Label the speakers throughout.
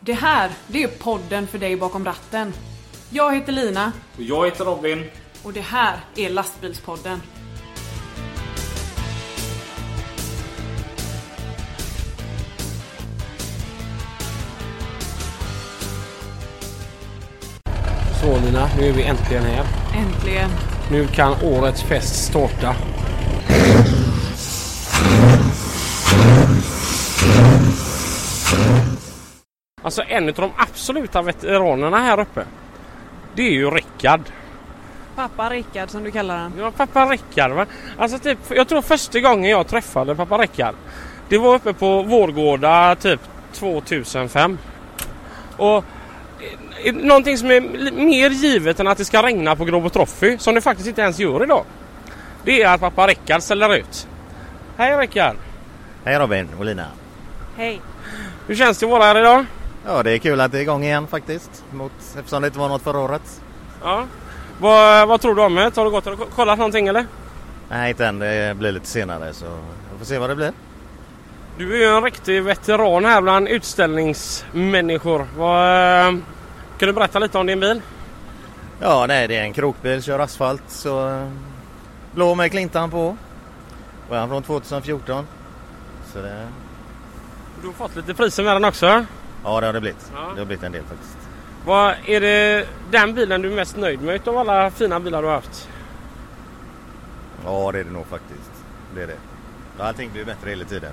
Speaker 1: Det här, det är podden för dig bakom ratten. Jag heter Lina
Speaker 2: Och jag heter Robin.
Speaker 1: och det här är Lastbilspodden.
Speaker 3: Så Lina, nu är vi äntligen här.
Speaker 1: Äntligen.
Speaker 3: Nu kan årets fest starta. Alltså en av de absoluta veteranerna här uppe. Det är ju Rickard.
Speaker 1: Pappa Rickard som du kallar han.
Speaker 3: Det var pappa Rickard va? Alltså typ, jag tror första gången jag träffade pappa Rickard. Det var uppe på Vårgårda typ 2005. Och eh, någonting som är li- mer givet än att det ska regna på Grobo Trophy, som det faktiskt inte ens gör idag. Det är att pappa Rickard ställer ut. Hej Rickard!
Speaker 4: Hej Robin och Lina.
Speaker 1: Hej.
Speaker 3: Hur känns det att vara här idag?
Speaker 4: Ja, det är kul att det är igång igen faktiskt. Mot, eftersom det inte var något förra året.
Speaker 3: Ja. Vad, vad tror du om det? Har du gått och kollat någonting eller?
Speaker 4: Nej, inte än. Det blir lite senare så vi får se vad det blir.
Speaker 3: Du är ju en riktig veteran här bland utställningsmänniskor. Vad, eh, kan du berätta lite om din bil?
Speaker 4: Ja, nej, det är en krokbil, kör asfalt så eh, blå med klintan på. Och han från 2014. Så det,
Speaker 3: Du har fått lite priser med den också.
Speaker 4: ja, det har det blivit.
Speaker 3: Ja.
Speaker 4: Det har blivit en del faktiskt.
Speaker 3: Vad är det den bilen du är mest nöjd med utav alla fina bilar du har haft?
Speaker 4: Ja, det är det nog faktiskt. Det är det. Allting blir bättre hela tiden.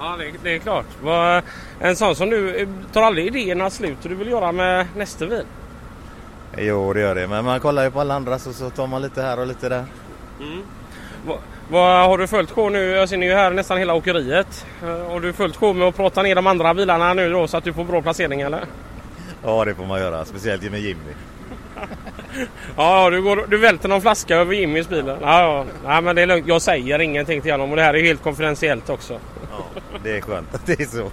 Speaker 3: Ja, det, det är klart. Vad, en sån som du, eh, tar aldrig idéerna slut och du vill göra med nästa bil?
Speaker 4: Jo, det gör det. Men man kollar ju på alla andra så, så tar man lite här och lite där.
Speaker 3: Vad, vad har du följt K nu? Jag ser ni ju här nästan hela åkeriet. Eh, Har du följt K med att prata ner de andra bilarna nu då så att du får bra placering eller?
Speaker 4: Ja, det får man göra. Speciellt med Jimmy.
Speaker 3: Ja, du, går, du välter någon flaska över Jimmys bil. Ja, ja. Nej, men det är lugnt. Jag säger ingenting till honom och det här är helt konfidentiellt också.
Speaker 4: Ja, det är skönt att det är så.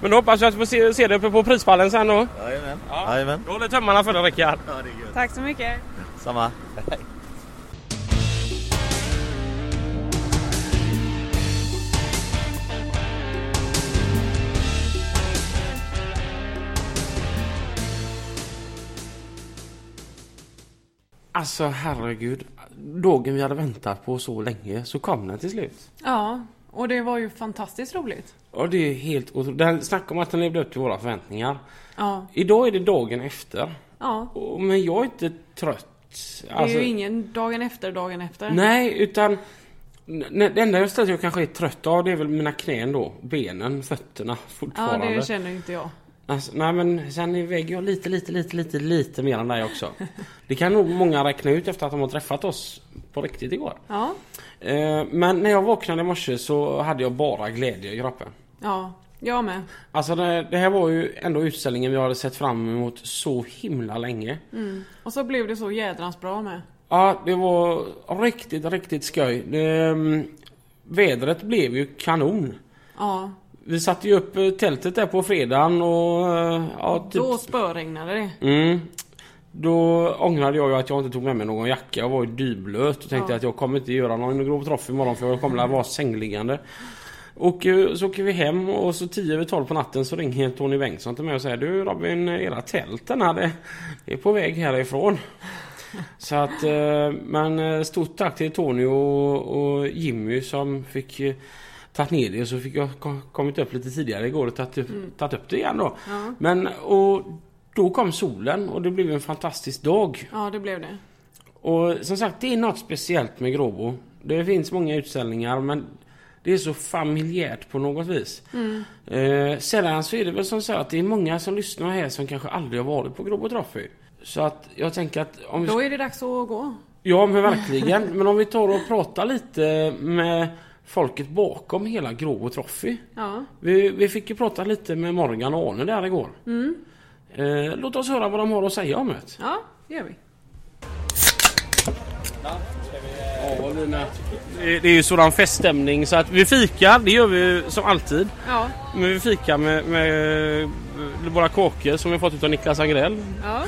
Speaker 3: Men då hoppas jag att vi får se, se dig uppe på prispallen sen då.
Speaker 4: Jajamän.
Speaker 3: Ja.
Speaker 4: Jajamän.
Speaker 3: Jag håller tummarna för dig Rickard.
Speaker 4: Ja, det är gött.
Speaker 1: Tack så mycket.
Speaker 4: Samma.
Speaker 3: Alltså herregud. Dagen vi hade väntat på så länge så kom den till slut.
Speaker 1: Ja, och det var ju fantastiskt roligt.
Speaker 3: Ja det är helt otroligt. Den- Snacka om att den levde upp till våra förväntningar.
Speaker 1: Ja,
Speaker 3: Idag är det dagen efter.
Speaker 1: ja.
Speaker 3: Och- Men jag är inte trött.
Speaker 1: Det är ju ingen dagen efter dagen efter.
Speaker 3: Alltså- Nej, utan n- n- det enda jag stället jag kanske är trött av det är väl mina knän då. Benen, fötterna
Speaker 1: Ja,
Speaker 3: fortfarande.
Speaker 1: det känner inte jag.
Speaker 3: alltså, nej men sen väger jag lite, lite, lite, lite, lite mer än dig också. Det kan nog många räkna ut efter att de har träffat oss på riktigt igår.
Speaker 1: Ja,
Speaker 3: Eh, Men när jag vaknade i morse så hade jag bara glädje i kroppen.
Speaker 1: ja. Jag med.
Speaker 3: Alltså det, det här var ju ändå utställningen vi hade sett fram emot så himla länge.
Speaker 1: Mm. Och så blev det så jädrans bra med.
Speaker 3: Ja, det var riktigt, riktigt skoj. Det, mm, vädret blev ju kanon.
Speaker 1: Ja,
Speaker 3: Vi satte ju upp eh, tältet där på fredagen och... eh, Ja, typ,
Speaker 1: då spöregnade det.
Speaker 3: mm, då ångrade jag ju att jag inte tog med mig någon jacka. Jag var ju dyblöt och tänkte att jag kommer inte göra någon grov troff imorgon för jag kommer att vara sängliggande. Och eh, så åker vi hem och så 10 över 12 på natten så ringer Tony Bengtsson till mig och säger Du Robin, era tälten här det det är på väg härifrån. Så att, eh, men eh, stort tack till Tony och, och Jimmy som fick eh, tagit ner det och så fick jag ko- kommit upp lite tidigare igår och tagit, upp- tagit upp det igen då. Men och då kom solen och det blev en fantastisk dag.
Speaker 1: Ja, det blev det.
Speaker 3: Och som sagt, det är något speciellt med Gråbo. Det finns många utställningar men det är så familjärt på något vis. Eh, sällan så är det väl som så att det är många som lyssnar här som kanske aldrig har varit på Gråbo Trophy. Så att jag tänker att om vi
Speaker 1: Då är det dags att gå.
Speaker 3: Ja men verkligen. Men om vi tar och pratar lite med folket bakom hela Gråbo Trophy.
Speaker 1: Ja.
Speaker 3: Vi, vi fick ju prata lite med Morgan och Arne där igår.
Speaker 1: Mm.
Speaker 3: Eh, låt oss höra vad de har att säga om det.
Speaker 1: Ja, det gör vi.
Speaker 3: Ja, Lina. Det det är ju sådan feststämning så att vi fikar, det gör vi ju som alltid.
Speaker 1: Ja,
Speaker 3: Men vi fikar med, med eh, våra kåkor som vi fått utav Niklas Agrell.
Speaker 1: ja,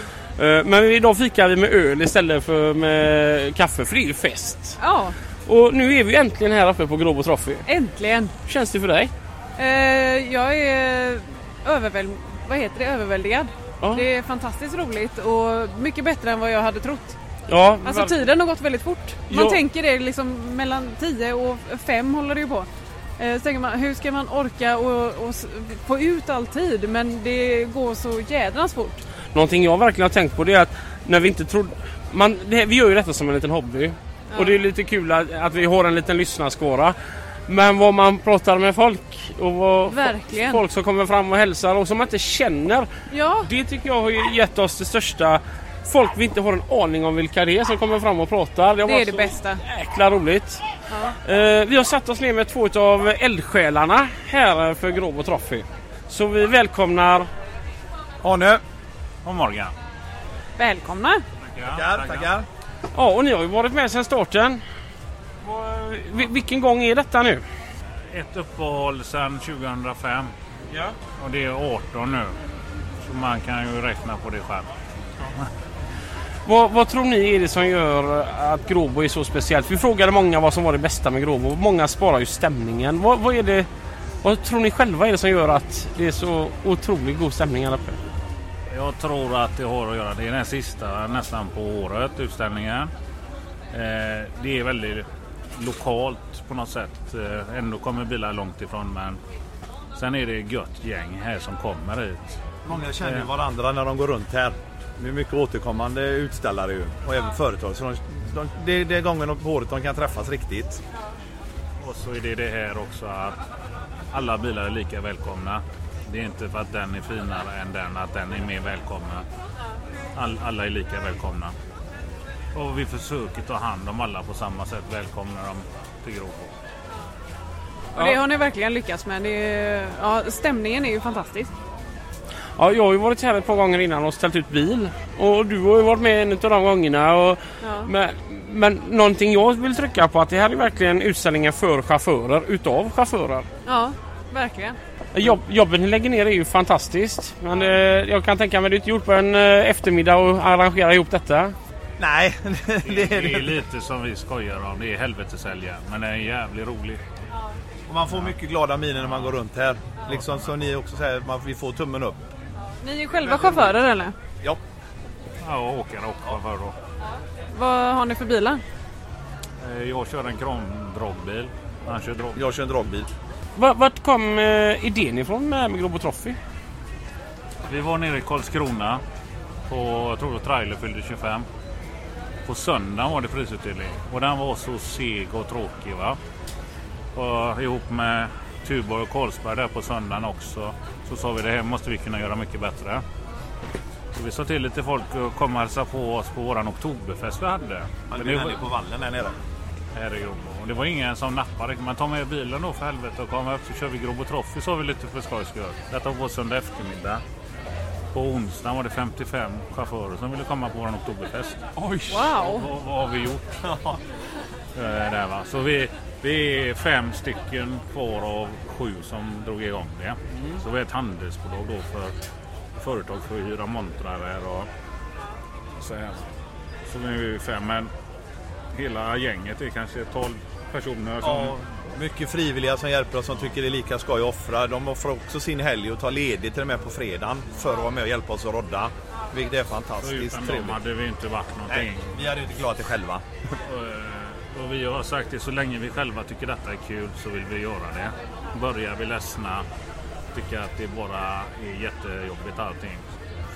Speaker 3: Eh, Men idag fikar vi med öl istället för med kaffe för det är ju fest.
Speaker 1: ja,
Speaker 3: Och nu är vi äntligen här uppe på Gråbo Trophy.
Speaker 1: äntligen.
Speaker 3: Hur känns det för dig?
Speaker 1: Eh, jag är överväl... vad heter det? överväldigad.
Speaker 3: Ja.
Speaker 1: Det är fantastiskt roligt och mycket bättre än vad jag hade trott.
Speaker 3: Ja,
Speaker 1: Alltså
Speaker 3: väl-
Speaker 1: tiden har gått väldigt fort. Man
Speaker 3: Ja.
Speaker 1: tänker det liksom mellan 10 och 5 håller det ju på. Eh, Så tänker man, hur ska man orka och, och s- få ut all tid? Men det går så jädrans fort.
Speaker 3: Någonting jag verkligen har tänkt på det är att när vi inte trodde... Man, det, vi gör ju detta som en liten hobby. Och det är lite kul att, att vi har en liten lyssnarskåra. Men vad man pratar med folk och vad
Speaker 1: Verkligen.
Speaker 3: folk som kommer fram och hälsar och som man inte känner.
Speaker 1: Ja,
Speaker 3: Det tycker jag har ju gett oss det största... Folk vi inte har en aning om vilka det är som kommer fram och pratar. har
Speaker 1: det är
Speaker 3: varit
Speaker 1: det
Speaker 3: så
Speaker 1: bästa.
Speaker 3: Jäkla roligt. Eh, vi har satt oss ner med två av eldsjälarna här eh, för Gråbo Trophy. Så vi välkomnar
Speaker 2: Arne och Morgan.
Speaker 1: Välkomna!
Speaker 4: Tackar, tackar.
Speaker 3: Ja, och ni har ju varit med sedan starten. Och, eh, vi- vilken gång är detta nu?
Speaker 2: Ett uppehåll sedan 2005
Speaker 3: Ja.
Speaker 2: och det är 18 nu. Så man kan ju räkna på det själv.
Speaker 3: Vad, vad tror ni är det som gör att Gråbo är så speciellt? Vi frågade många vad som var det bästa med Gråbo. Många sparar ju stämningen. Vad, vad är det... Vad tror ni själva är det som gör att det är så otroligt god stämning här uppe?
Speaker 2: Jag tror att det har att göra. Det är den sista nästan på året utställningen. Eh, det är väldigt lokalt på något sätt. Eh, ändå kommer bilar långt ifrån men sen är det gött gäng här som kommer hit.
Speaker 5: Många känner ju varandra när de går runt här. Det är mycket återkommande utställare ju, och även företag. Så de, de, det, det är gången på året de kan träffas riktigt.
Speaker 2: Och så är det det här också att alla bilar är lika välkomna. Det är inte för att den är finare än den, att den är mer välkomna. All, alla är lika välkomna. Och vi försöker ta hand om alla på samma sätt, välkomna dem till Gråbo.
Speaker 1: Och det har ni verkligen lyckats med. Det är, ja, stämningen är ju fantastisk.
Speaker 3: Ja, jag har ju varit här ett par gånger innan och ställt ut bil. Och du har ju varit med en av de gångerna. Och,
Speaker 1: Ja.
Speaker 3: men, men någonting jag vill trycka på att det här är verkligen utställningen för chaufförer, utav chaufförer.
Speaker 1: Ja, verkligen.
Speaker 3: Jobb, jobben ni lägger ner är ju fantastiskt. Men eh, jag kan tänka mig det är inte gjort på en eh, eftermiddag och arrangera ihop detta.
Speaker 5: Nej, det är
Speaker 2: Det är
Speaker 5: det.
Speaker 2: lite som vi skojar om, det är helvetesäljare, men den är jävligt rolig.
Speaker 5: Och Man får mycket glada miner när man går runt här. Liksom som ni också säger, man, vi får tummen upp.
Speaker 1: Ni är själva chaufförer eller?
Speaker 5: Ja,
Speaker 2: Ja, och åkare och chaufför då.
Speaker 1: Vad har ni för bilar?
Speaker 2: Eh, Jag kör en kromdrogbil. Han kör drog.
Speaker 5: jag kör en dragbil.
Speaker 3: Va- Vart kom eh, idén ifrån med med Globo Trophy?
Speaker 2: Vi var nere i Karlskrona på, jag tror det var trailer fyllde 25. På söndagen var det prisutdelning och den var så seg och tråkig va. Och ihop med Tuborg och Carlsberg där på söndagen också så sa vi det här måste vi kunna göra mycket bättre. Så vi sa till lite folk att komma och hälsa på oss på våran oktoberfest vi hade. Men det var,
Speaker 5: på vallen här nere.
Speaker 2: här i Grobo. Och det var ingen som nappade. Men ta med bilen då för helvete och kom upp så kör vi Grobo Trophy sa vi lite för skojs skull. Detta var på söndag eftermiddag. På onsdagen var det 55 chaufförer som ville komma på vår oktoberfest. Oj!
Speaker 1: Wow.
Speaker 2: Vad, vad har vi gjort? Eh, Där, va? Så vi, vi är fem stycken kvar av sju som drog igång det. Så vi är ett handelsbolag då för företag för att hyra montrar och så här. Så nu är vi fem, men hela gänget är kanske 12 personer. Som,
Speaker 5: Ja, mycket frivilliga som hjälper oss som tycker det är lika skoj att offra. De offrar också sin helg och tar ledigt till och med på fredagen för att vara med och hjälpa oss att rodda. Vilket är
Speaker 2: Så utan
Speaker 5: fantastiskt
Speaker 2: dem
Speaker 5: trevligt.
Speaker 2: hade vi inte varit någonting.
Speaker 5: Nej, vi hade inte klarat det själva.
Speaker 2: Och, och vi har sagt det, så länge vi själva tycker detta är kul så vill vi göra det. Börjar vi ledsna, tycker att det bara är jättejobbigt allting,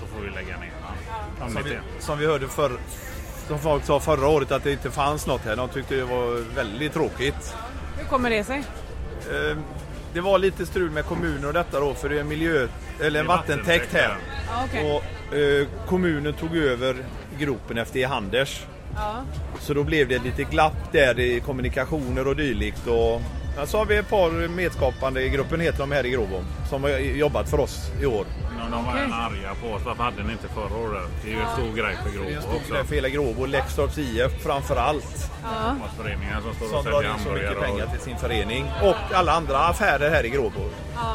Speaker 2: så får vi lägga ner. va? Om
Speaker 5: Som
Speaker 2: det
Speaker 5: vi,
Speaker 2: är.
Speaker 5: som vi hörde förr, som folk sa förra året att det inte fanns något här. De tyckte det var väldigt tråkigt.
Speaker 1: Hur kommer det sig?
Speaker 5: Eh, Det var lite strul med kommunen och detta då för det är en miljö, eller en
Speaker 2: Det är vattentäkt
Speaker 5: vattentäkt här.
Speaker 1: Ja, okej.
Speaker 5: Och eh, kommunen tog över gropen efter E. Handers.
Speaker 1: Ja.
Speaker 5: Så då blev det lite glapp där i kommunikationer och dylikt. Och, ja, så har vi ett par medskapande i gruppen heter de här i Gråbo som har jobbat för oss i år.
Speaker 2: Men De var gärna arga på oss. Varför hade ni inte förra året? Det är ju en stor grej för
Speaker 5: Det är en
Speaker 2: Gråbo
Speaker 5: stor grej
Speaker 2: också.
Speaker 5: för hela Gråbo, Läxtorps IF framför allt.
Speaker 2: Fotbollsföreningen som står
Speaker 5: som
Speaker 2: och
Speaker 5: drar
Speaker 2: säljer
Speaker 5: in så mycket
Speaker 2: hamburgare.
Speaker 5: pengar
Speaker 2: och-
Speaker 5: till sin förening och alla andra affärer här i Gråbo.
Speaker 1: Ja.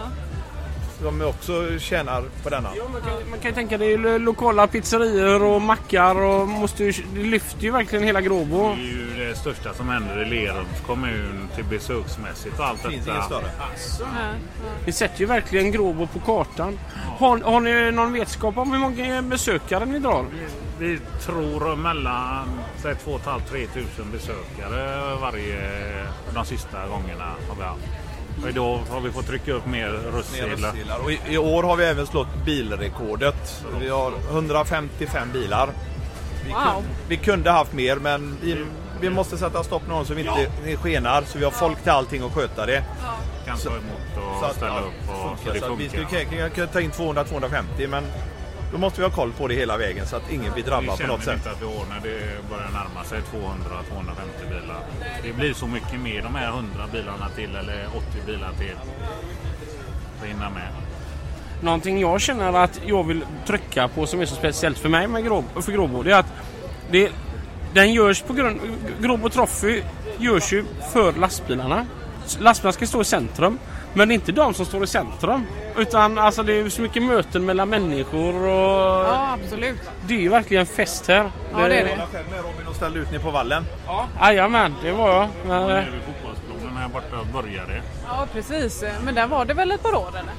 Speaker 5: De också tjänar på denna.
Speaker 3: man, kan, man kan tänka det är ju lo- lokala pizzerior och mackar och måste ju, det lyfter ju verkligen hela Gråbo.
Speaker 2: Det är ju det största som händer i Lerums kommun till besöksmässigt och allt
Speaker 5: Det finns
Speaker 2: detta.
Speaker 5: ingen större.
Speaker 1: Ja.
Speaker 3: Ni sätter ju verkligen Gråbo på kartan. Har, har ni någon vetskap om hur många besökare ni drar?
Speaker 2: Vi tror mellan säg, 2 500-3 000 besökare varje, de sista gångerna har vi haft. Och idag har vi fått trycka upp mer
Speaker 5: Mer
Speaker 2: röstsedlar.
Speaker 5: röstsedlar. Och i, I år har vi även slått bilrekordet. Vi har 155 bilar. Vi,
Speaker 1: Wow.
Speaker 5: kunde, vi kunde haft mer men vi, vi måste sätta stopp någon så vi inte skenar. Så vi har folk till allting och sköta det.
Speaker 2: Kan ta emot och ställa
Speaker 5: ja,
Speaker 2: upp. Och, så det
Speaker 5: Så att vi skulle
Speaker 2: funkar.
Speaker 5: kunna- kunna ta in 200-250 men då måste vi ha koll på det hela vägen så att ingen blir
Speaker 2: Vi
Speaker 5: drabbad på
Speaker 2: känner
Speaker 5: något sätt.
Speaker 2: inte att vi har när det börjar närma sig 200-250 bilar. Det blir så mycket mer de här 100 bilarna till eller 80 bilar till. Att hinna med.
Speaker 3: Någonting jag känner att jag vill trycka på som är så speciellt för mig med Gråbo, för Gråbo det är att det, den görs på grund... Gråbo Trophy görs ju för lastbilarna. Lastbilarna ska stå i centrum. Men det är inte de som står i centrum. Utan alltså det är ju så mycket möten mellan människor och...
Speaker 1: ja, absolut.
Speaker 3: Det är ju verkligen fest här.
Speaker 1: Ja, det är
Speaker 5: Jag
Speaker 1: det.
Speaker 5: var själv med Robin och ställde ut ni på vallen.
Speaker 3: Jajamän, det var jag. Men,
Speaker 2: Och
Speaker 3: eh,
Speaker 2: nu vid fotbollsplanen här borta började.
Speaker 1: Ja, precis. Men där var det väl ett par år eller?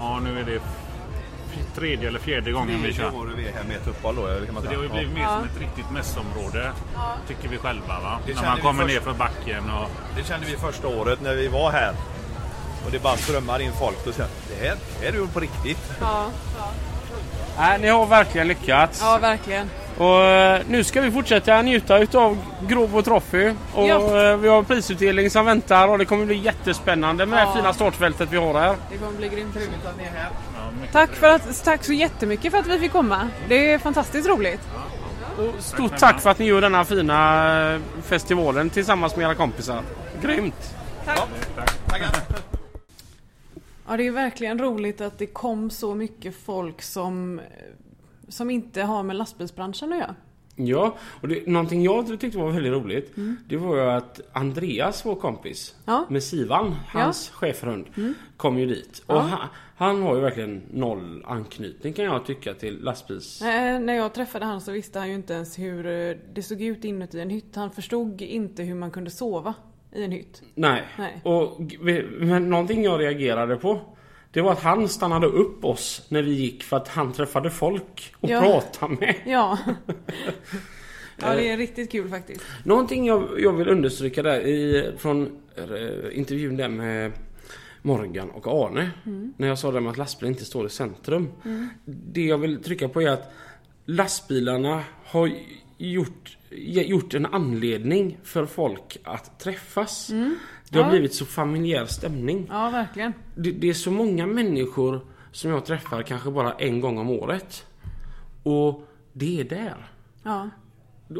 Speaker 2: Ja, nu är det f- tredje eller fjärde gången vi kör.
Speaker 5: Tredje året vi är här med ett uppehåll då. eller kan man
Speaker 2: Så det
Speaker 5: säga.
Speaker 2: har ju
Speaker 5: Ja.
Speaker 2: blivit mer som ett riktigt mässområde. Tycker vi själva va? När
Speaker 5: kände
Speaker 2: man
Speaker 5: vi
Speaker 2: kommer
Speaker 5: först.
Speaker 2: ner för backen och...
Speaker 5: Det kände vi första året när vi var här. Och det bara strömmar in folk. Och säger, det här, det här är ju på riktigt.
Speaker 1: Ja,
Speaker 3: nej, ni har verkligen lyckats.
Speaker 1: ja verkligen.
Speaker 3: Och eh, nu ska vi fortsätta njuta utav Gråbo Trophy. Och
Speaker 1: Ja.
Speaker 3: eh, vi har prisutdelning som väntar och det kommer bli jättespännande med det
Speaker 1: Ja.
Speaker 3: fina startfältet vi har här.
Speaker 1: Det kommer bli grymt roligt att ni är här. Tack, för att, tack så jättemycket för att vi fick komma. Det är fantastiskt roligt.
Speaker 3: Och stort
Speaker 2: Tack,
Speaker 3: tack för att ni gör denna fina eh, festivalen tillsammans med era kompisar. Grymt!
Speaker 1: Ja, det är verkligen roligt att det kom så mycket folk som, som inte har med lastbilsbranschen att göra.
Speaker 3: Ja, och det, någonting jag tyckte var väldigt roligt Det var ju att Andreas, vår kompis
Speaker 1: Mm. Ja. Mm.
Speaker 3: Med Sivan, hans chefhund Kom ju dit och han, han har ju verkligen noll anknytning kan jag tycka till lastbils...
Speaker 1: Eh, när jag träffade han så visste han ju inte ens hur eh, det såg ut inuti en hytt. Han förstod inte hur man kunde sova i en hytt.
Speaker 3: Nej.
Speaker 1: Nej.
Speaker 3: Och, vi- men någonting jag reagerade på Det var att han stannade upp oss när vi gick för att han träffade folk och
Speaker 1: Ja.
Speaker 3: pratade med
Speaker 1: Ja. ja, det är riktigt kul faktiskt.
Speaker 3: Någonting jag, jag vill understryka där i, från eh, intervjun där med Morgan och Arne. När jag sa det med att lastbilen inte står i centrum. Det jag vill trycka på är att lastbilarna har gjort, ge- gjort en anledning för folk att träffas. Det har
Speaker 1: Mm. Ja.
Speaker 3: blivit så familjär stämning.
Speaker 1: Ja, verkligen.
Speaker 3: Det, det är så många människor som jag träffar kanske bara en gång om året. Och det är där.
Speaker 1: Ja.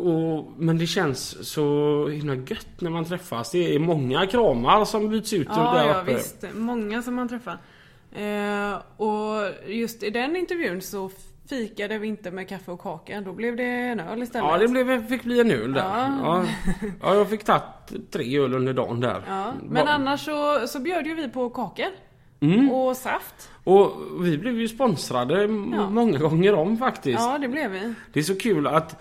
Speaker 3: Och, men det känns så himla gött när man träffas. Det är många kramar som byts ut
Speaker 1: Ja,
Speaker 3: där
Speaker 1: ja
Speaker 3: uppe.
Speaker 1: visst. Många som man träffar. Eh, och just i den intervjun så fikade vi inte med kaffe och kaka. Då blev det en öl istället.
Speaker 3: Ja, det blev, fick bli en öl där. Ja.
Speaker 1: Ja.
Speaker 3: Ja, jag fick tagit tre öl under dagen där.
Speaker 1: Ja, men
Speaker 3: Ba-
Speaker 1: annars så, så bjöd ju vi på kakor.
Speaker 3: Mm.
Speaker 1: Och saft.
Speaker 3: Och vi blev ju sponsrade m-
Speaker 1: Ja.
Speaker 3: många gånger om faktiskt.
Speaker 1: Ja, det blev vi.
Speaker 3: Det är så kul att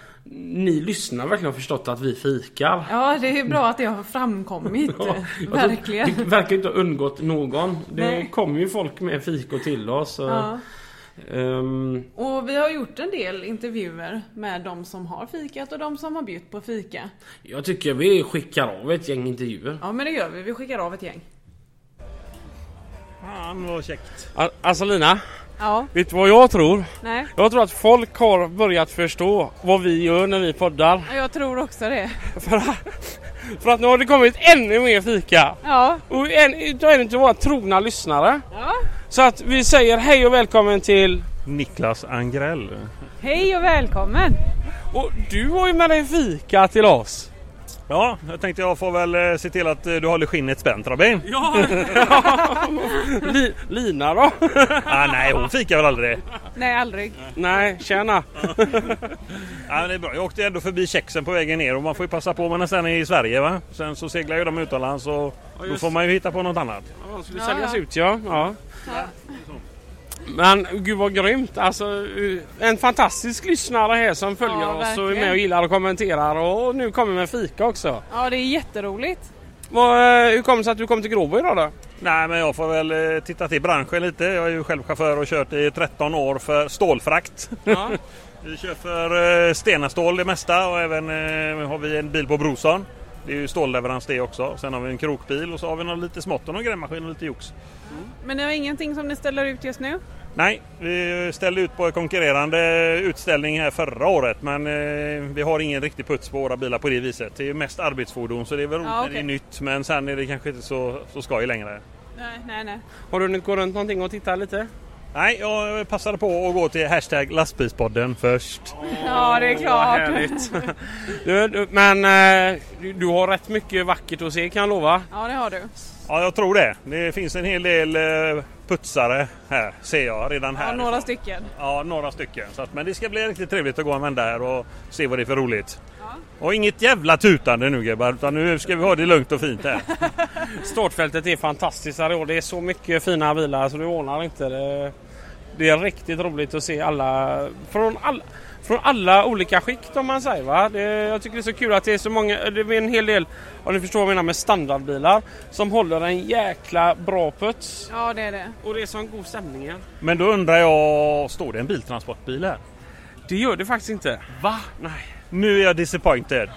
Speaker 3: ni lyssnar verkligen har förstått att vi fikar.
Speaker 1: Ja, det är bra att det har framkommit.
Speaker 3: Ja, alltså,
Speaker 1: Verkligen.
Speaker 3: Det verkar inte ha undgått någon. Det
Speaker 1: Nej.
Speaker 3: kommer ju folk med fikor till oss. och,
Speaker 1: Ja.
Speaker 3: ehm,
Speaker 1: Och vi har gjort en del intervjuer med de som har fikat och de som har bjudit på fika.
Speaker 3: jag tycker vi skickar av ett gäng intervjuer.
Speaker 1: Ja men det gör vi, vi skickar av ett gäng.
Speaker 6: Fan vad käckt.
Speaker 3: Al- Alltså Lina,
Speaker 1: Ja,
Speaker 3: vet du vad jag tror?
Speaker 1: nej.
Speaker 3: Jag tror att folk har börjat förstå vad vi gör när vi poddar.
Speaker 1: Ja, Jag tror också det.
Speaker 3: För att, för att nu har det kommit ännu mer fika.
Speaker 1: Ja.
Speaker 3: Och en utav en av våra trogna lyssnare.
Speaker 1: ja.
Speaker 3: Så att vi säger hej och välkommen till...
Speaker 6: Niklas Angrell.
Speaker 1: Hej och välkommen!
Speaker 3: Och du har ju med dig fika till oss.
Speaker 6: Ja, jag tänkte jag får väl eh, se till att eh, du håller skinnet spänt Robin.
Speaker 3: Ja! Li, Lina då?
Speaker 6: Ah, nej, hon fikar väl aldrig.
Speaker 1: Nej, aldrig.
Speaker 3: Nej, tjena.
Speaker 6: Ja, Ah, men det är bra. Jag åkte ändå förbi Tjeckien på vägen ner och man får ju passa på när man sen är i Sverige va. Sen så seglar ju de utomlands och då
Speaker 3: just
Speaker 6: får man ju hitta på något annat.
Speaker 3: Ja, skulle
Speaker 1: Ja, säljas ja.
Speaker 3: ut ja. Men gud vad grymt! Alltså, eh, en fantastisk lyssnare här som följer
Speaker 1: Ja,
Speaker 3: oss och är
Speaker 1: verkligen.
Speaker 3: med och gillar och kommenterar och nu kommer med fika också.
Speaker 1: Ja, det är jätteroligt.
Speaker 3: Vad, eh, hur kom det sig att du kom till Gråbo idag då?
Speaker 6: Nej, men jag får väl eh, titta till branschen lite. Jag är ju själv chaufför och kört i 13 år för stålfrakt.
Speaker 3: Ja.
Speaker 6: Vi kör för eh, Stenastål det mesta och även eh, har vi en bil på Brosan. Det är ju stålleverans det också. Sen har vi en krokbil och så har vi något lite smått och någon grävmaskin och lite jox.
Speaker 1: Men ni har ingenting som ni ställer ut just nu?
Speaker 6: Nej, vi ställde ut på en konkurrerande utställning här förra året men eh, vi har ingen riktig puts på våra bilar på det viset. Det är mest arbetsfordon så det är väl roligt
Speaker 1: Ja,
Speaker 6: när det är
Speaker 1: okej.
Speaker 6: nytt men sen är det kanske inte så, så skoj längre.
Speaker 1: Nej, nej, nej.
Speaker 3: Har du hunnit gå runt någonting och titta lite?
Speaker 6: Nej, jag passade på att gå till hashtag lastbilspodden först.
Speaker 1: Ja, det är klart.
Speaker 3: Du, du, men eh, du, du har rätt mycket vackert att se kan jag lova.
Speaker 1: Ja, det har du.
Speaker 6: Ja, jag tror det. Det finns en hel del eh, putsare här ser jag redan här.
Speaker 1: Ja, några stycken.
Speaker 6: Ja, några stycken. Så att, men det ska bli riktigt trevligt att gå en vända här och se vad det är för roligt. Och inget jävla tutande nu gubbar, utan nu ska vi ha det lugnt och fint här.
Speaker 3: Startfältet är fantastiskt här i år. Det är så mycket fina bilar så du ordnar inte. Det, det är riktigt roligt att se alla från, alla från alla olika skikt om man säger. Va? Det, jag tycker det är så kul att det är så många, det är en hel del, om ni förstår vad jag menar med standardbilar, som håller en jäkla bra puts.
Speaker 1: Ja, det är det.
Speaker 3: Och det är sån god stämning här.
Speaker 6: Men då undrar jag, står det en biltransportbil här?
Speaker 3: Det gör det faktiskt inte.
Speaker 6: Va?
Speaker 3: Nej.
Speaker 6: Nu är jag disappointed.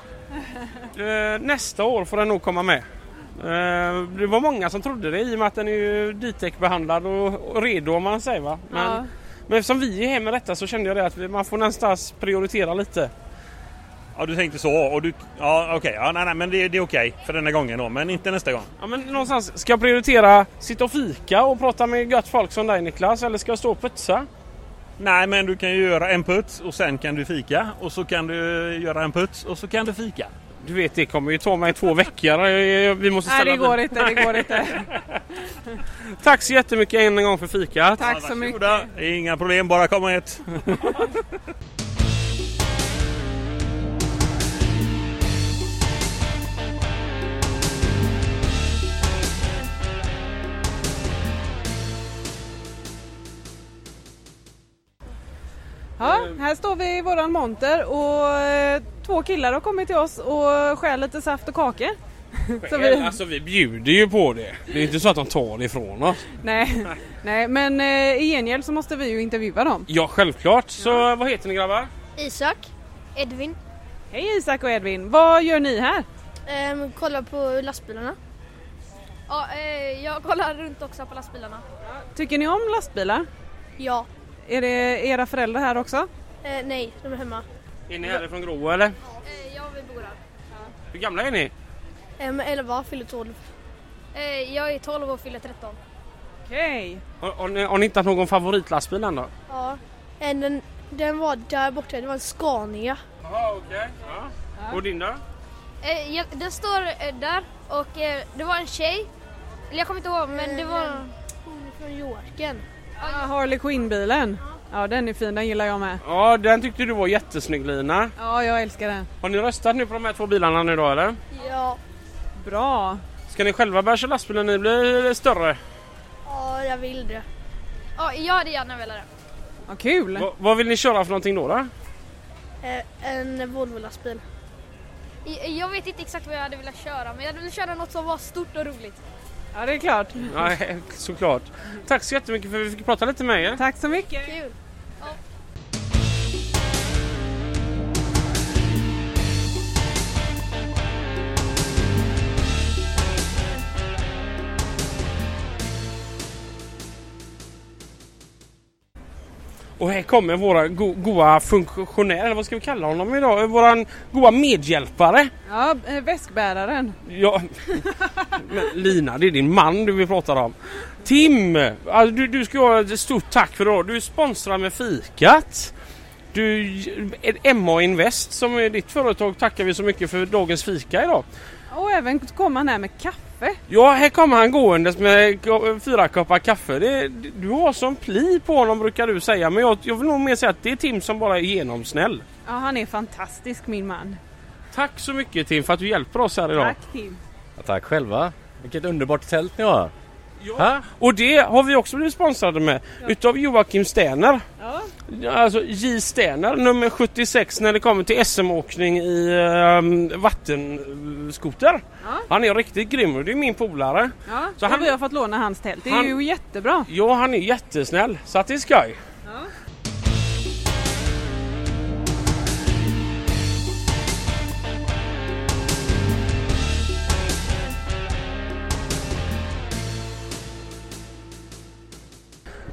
Speaker 3: Eh, Nästa år får den nog komma med. Eh, Det var många som trodde det i och med att den är ju Ditec-behandlad och och redo om man säger va. Men,
Speaker 1: Ja.
Speaker 3: men eftersom vi är här med detta så kände jag det att vi- man får någonstans prioritera lite.
Speaker 6: Ja, du tänkte så. Och du, ja, okej. Ja, nej, nej, men det, det är okej för denna gången då, men inte nästa gång.
Speaker 3: Ja, men någonstans, ska jag prioritera sitta och fika och prata med gött folk som dig Niklas eller ska jag stå och putsa?
Speaker 6: Nej, men du kan ju göra en puts och sen kan du fika. Och så kan du göra en puts och så kan du fika.
Speaker 3: Du vet det kommer ju ta mig två veckor. Jag- jag- jag- Vi måste
Speaker 1: Nej,
Speaker 3: ställa
Speaker 1: det går
Speaker 3: bil.
Speaker 1: inte. Det går inte.
Speaker 3: Tack så jättemycket än en gång för fikat.
Speaker 1: Tack så mycket.
Speaker 6: Varsågoda. Inga problem, bara komma ett.
Speaker 1: Ja, här står vi i våran monter och eh, två killar har kommit till oss och skär lite saft och kakor. Så vi-
Speaker 3: Alltså vi bjuder ju på det. Det är inte så att de tar det ifrån oss.
Speaker 1: Nej, nej men eh, i gengäld så måste vi ju intervjua dem.
Speaker 3: Ja självklart. Så vad heter ni grabbar?
Speaker 7: Isak, Edvin,
Speaker 1: Hej Isak och Edvin, vad gör ni här?
Speaker 7: ehm, kollar på lastbilarna. Ja, eh, jag kollar runt också på lastbilarna.
Speaker 1: Tycker ni om lastbilar?
Speaker 7: Ja.
Speaker 1: Är det era föräldrar här också?
Speaker 7: Eh, nej, de är hemma.
Speaker 3: Är ni härifrån Grå eller?
Speaker 7: Eh, ja, vi bor här.
Speaker 3: Hur gamla är ni?
Speaker 7: Ehm, 11 fyller 12. Eh, jag är 12 och fyller 13.
Speaker 1: Okej.
Speaker 3: Har, har, ni, har ni hittat någon favoritlastbil än då?
Speaker 7: Ja. Eh, den, den var där borta, det var en Scania.
Speaker 3: Jaha okej. Och din då?
Speaker 7: Eh, jag, den står eh, där och eh, det var en tjej. Eller jag kommer inte ihåg men det var Ehm, hon från Jorken.
Speaker 1: Ja, Harley Quinn-bilen. Ja, den är fin, den gillar jag med.
Speaker 3: Ja den tyckte du var jättesnygg Lina.
Speaker 1: Ja, jag älskar den.
Speaker 3: Har ni röstat nu på de här två bilarna nu då eller?
Speaker 7: Ja.
Speaker 1: Bra.
Speaker 3: Ska ni själva börja köra lastbil när ni blir större?
Speaker 7: Ja, jag vill det. Ja, jag hade gärna velat det.
Speaker 1: Vad kul.
Speaker 3: Va, vad vill ni köra för någonting då? då?
Speaker 7: Eh, En Volvo-lastbil. Jag vet inte exakt vad jag hade velat köra men jag hade velat köra något som var stort och roligt.
Speaker 1: Ja, det är klart.
Speaker 3: Ja, såklart. Tack så jättemycket för att vi fick prata lite med er.
Speaker 1: Tack så mycket.
Speaker 7: Kul!
Speaker 3: Och här kommer våra go- goa funktionär, eller vad ska vi kalla honom idag? Våran goa medhjälpare.
Speaker 1: Ja, eh, väskbäraren.
Speaker 3: Ja, men Lina det är din man du vi pratar om. Tim! Alltså du, du ska ha ett stort tack för idag. Du är sponsrad med fikat. Du, MA Invest som är ditt företag tackar vi så mycket för dagens fika idag.
Speaker 1: Och även kom han här med kaffe.
Speaker 3: Ja, här kommer han gåendes med ko- fyra koppar kaffe. Det, du har som pli på honom brukar du säga men jag, jag vill nog mer säga att det är Tim som bara är genomsnäll.
Speaker 1: Ja, han är fantastisk min man.
Speaker 3: Tack så mycket Tim för att du hjälper oss här idag.
Speaker 1: Tack Tim.
Speaker 4: Tack själva. Vilket underbart tält ni har.
Speaker 3: Ja. Och det har vi också blivit sponsrade med. Utav Joakim Sterner.
Speaker 1: Ja.
Speaker 3: Alltså J Sterner, nummer 76 när det kommer till SM-åkning i um, vattenskoter.
Speaker 1: Ja.
Speaker 3: Han är riktigt grym och det är min polare.
Speaker 1: Ja,
Speaker 3: Så
Speaker 1: och
Speaker 3: han-
Speaker 1: vi har fått låna hans tält. Det är
Speaker 3: han-
Speaker 1: ju jättebra.
Speaker 3: Ja, han är jättesnäll så att det är skoj.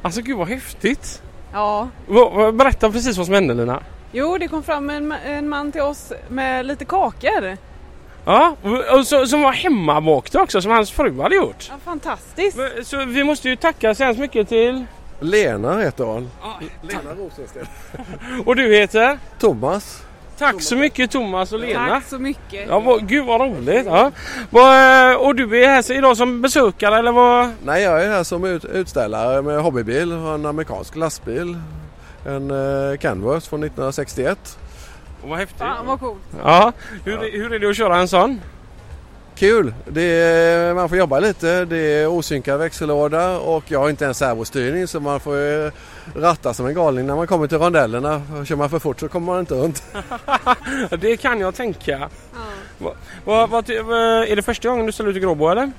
Speaker 3: Alltså gud vad häftigt!
Speaker 1: Ja.
Speaker 3: Va- va- Berätta precis vad som hände Lina.
Speaker 1: Jo, det kom fram en, ma- en man till oss med lite kakor.
Speaker 3: Ja, och- och så, som var hemmabakta också som hans fru hade gjort.
Speaker 1: Ja, fantastiskt.
Speaker 3: Men, Så vi måste ju tacka så hemskt mycket till...
Speaker 8: Lena heter han.
Speaker 5: Lena Rosensten.
Speaker 3: Och du heter?
Speaker 8: Thomas.
Speaker 3: Tack så mycket Thomas och Lena.
Speaker 1: Tack så mycket.
Speaker 3: Ja, vad, gud vad roligt! Ja. Vad, eh, och du är här så- idag som besökare eller vad?
Speaker 8: Nej, jag är här som ut, utställare med hobbybil. Har en amerikansk lastbil. En eh, Canvas från 1961.
Speaker 3: Vad häftigt!
Speaker 1: Fan vad coolt.
Speaker 3: Ja. Hur, hur är det att köra en sån?
Speaker 8: Kul! Det är, man får jobba lite. Det är osynkad växellåda och jag har inte ens servostyrning så man får eh, ratta som en galning när man kommer till rondellerna. Kör man för fort så kommer man inte runt.
Speaker 3: Ja, Det kan jag tänka.
Speaker 1: Ja.
Speaker 3: Vad, vad, vad, är det första gången du ställer ut i Gråbo eller?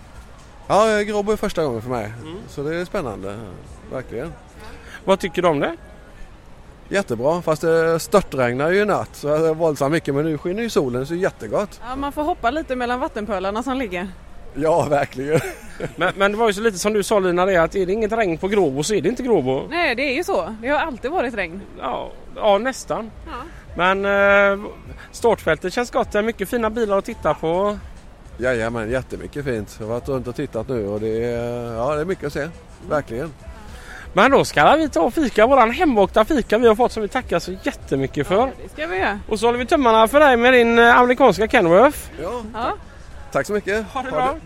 Speaker 8: Ja, Gråbo är första gången för mig.
Speaker 3: Mm.
Speaker 8: Så det är spännande. Verkligen.
Speaker 3: Vad tycker du om det?
Speaker 8: Jättebra, fast det störtregnar ju i natt så det är våldsamt mycket men nu skiner ju solen så det är jättegott.
Speaker 1: Ja, man får hoppa lite mellan vattenpölarna som ligger.
Speaker 8: Ja, verkligen.
Speaker 3: Men, men det var ju så lite som du sa Lina, det är att är det inget regn på Gråbo så är det inte Gråbo.
Speaker 1: Nej, det är ju så. Det har alltid varit regn.
Speaker 3: Ja, ja nästan.
Speaker 1: Ja.
Speaker 3: Men eh, startfältet känns gott. Det är mycket fina bilar att titta på.
Speaker 8: Jajamän, jättemycket fint. Jag har varit runt och tittat nu och det är, ja, det är mycket att se. Verkligen.
Speaker 3: Men då ska vi ta och fika. Våran hemvakta fika vi har fått som vi tackar så jättemycket för.
Speaker 1: Ja, det ska vi göra.
Speaker 3: Och så håller vi tummarna för dig med din eh, amerikanska Kenworth.
Speaker 8: Ja,
Speaker 1: Ja.
Speaker 8: tack så mycket.
Speaker 3: Ha det bra.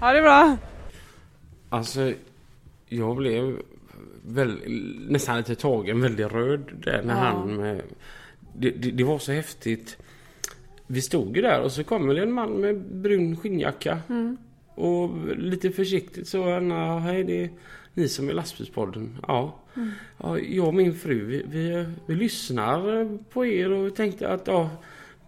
Speaker 1: Ha det bra.
Speaker 3: Alltså, jag blev väl, nästan lite tagen, väldigt röd där när
Speaker 1: Ja.
Speaker 3: han... eh, Det, det, det var så häftigt. Vi stod ju där och så kom väl en man med brun skinnjacka. Och lite försiktigt så han, "Ja, hej det är ni som är lastbilspodden. Ja. ja jag och min fru vi, vi, vi lyssnar på er och vi tänkte att ja,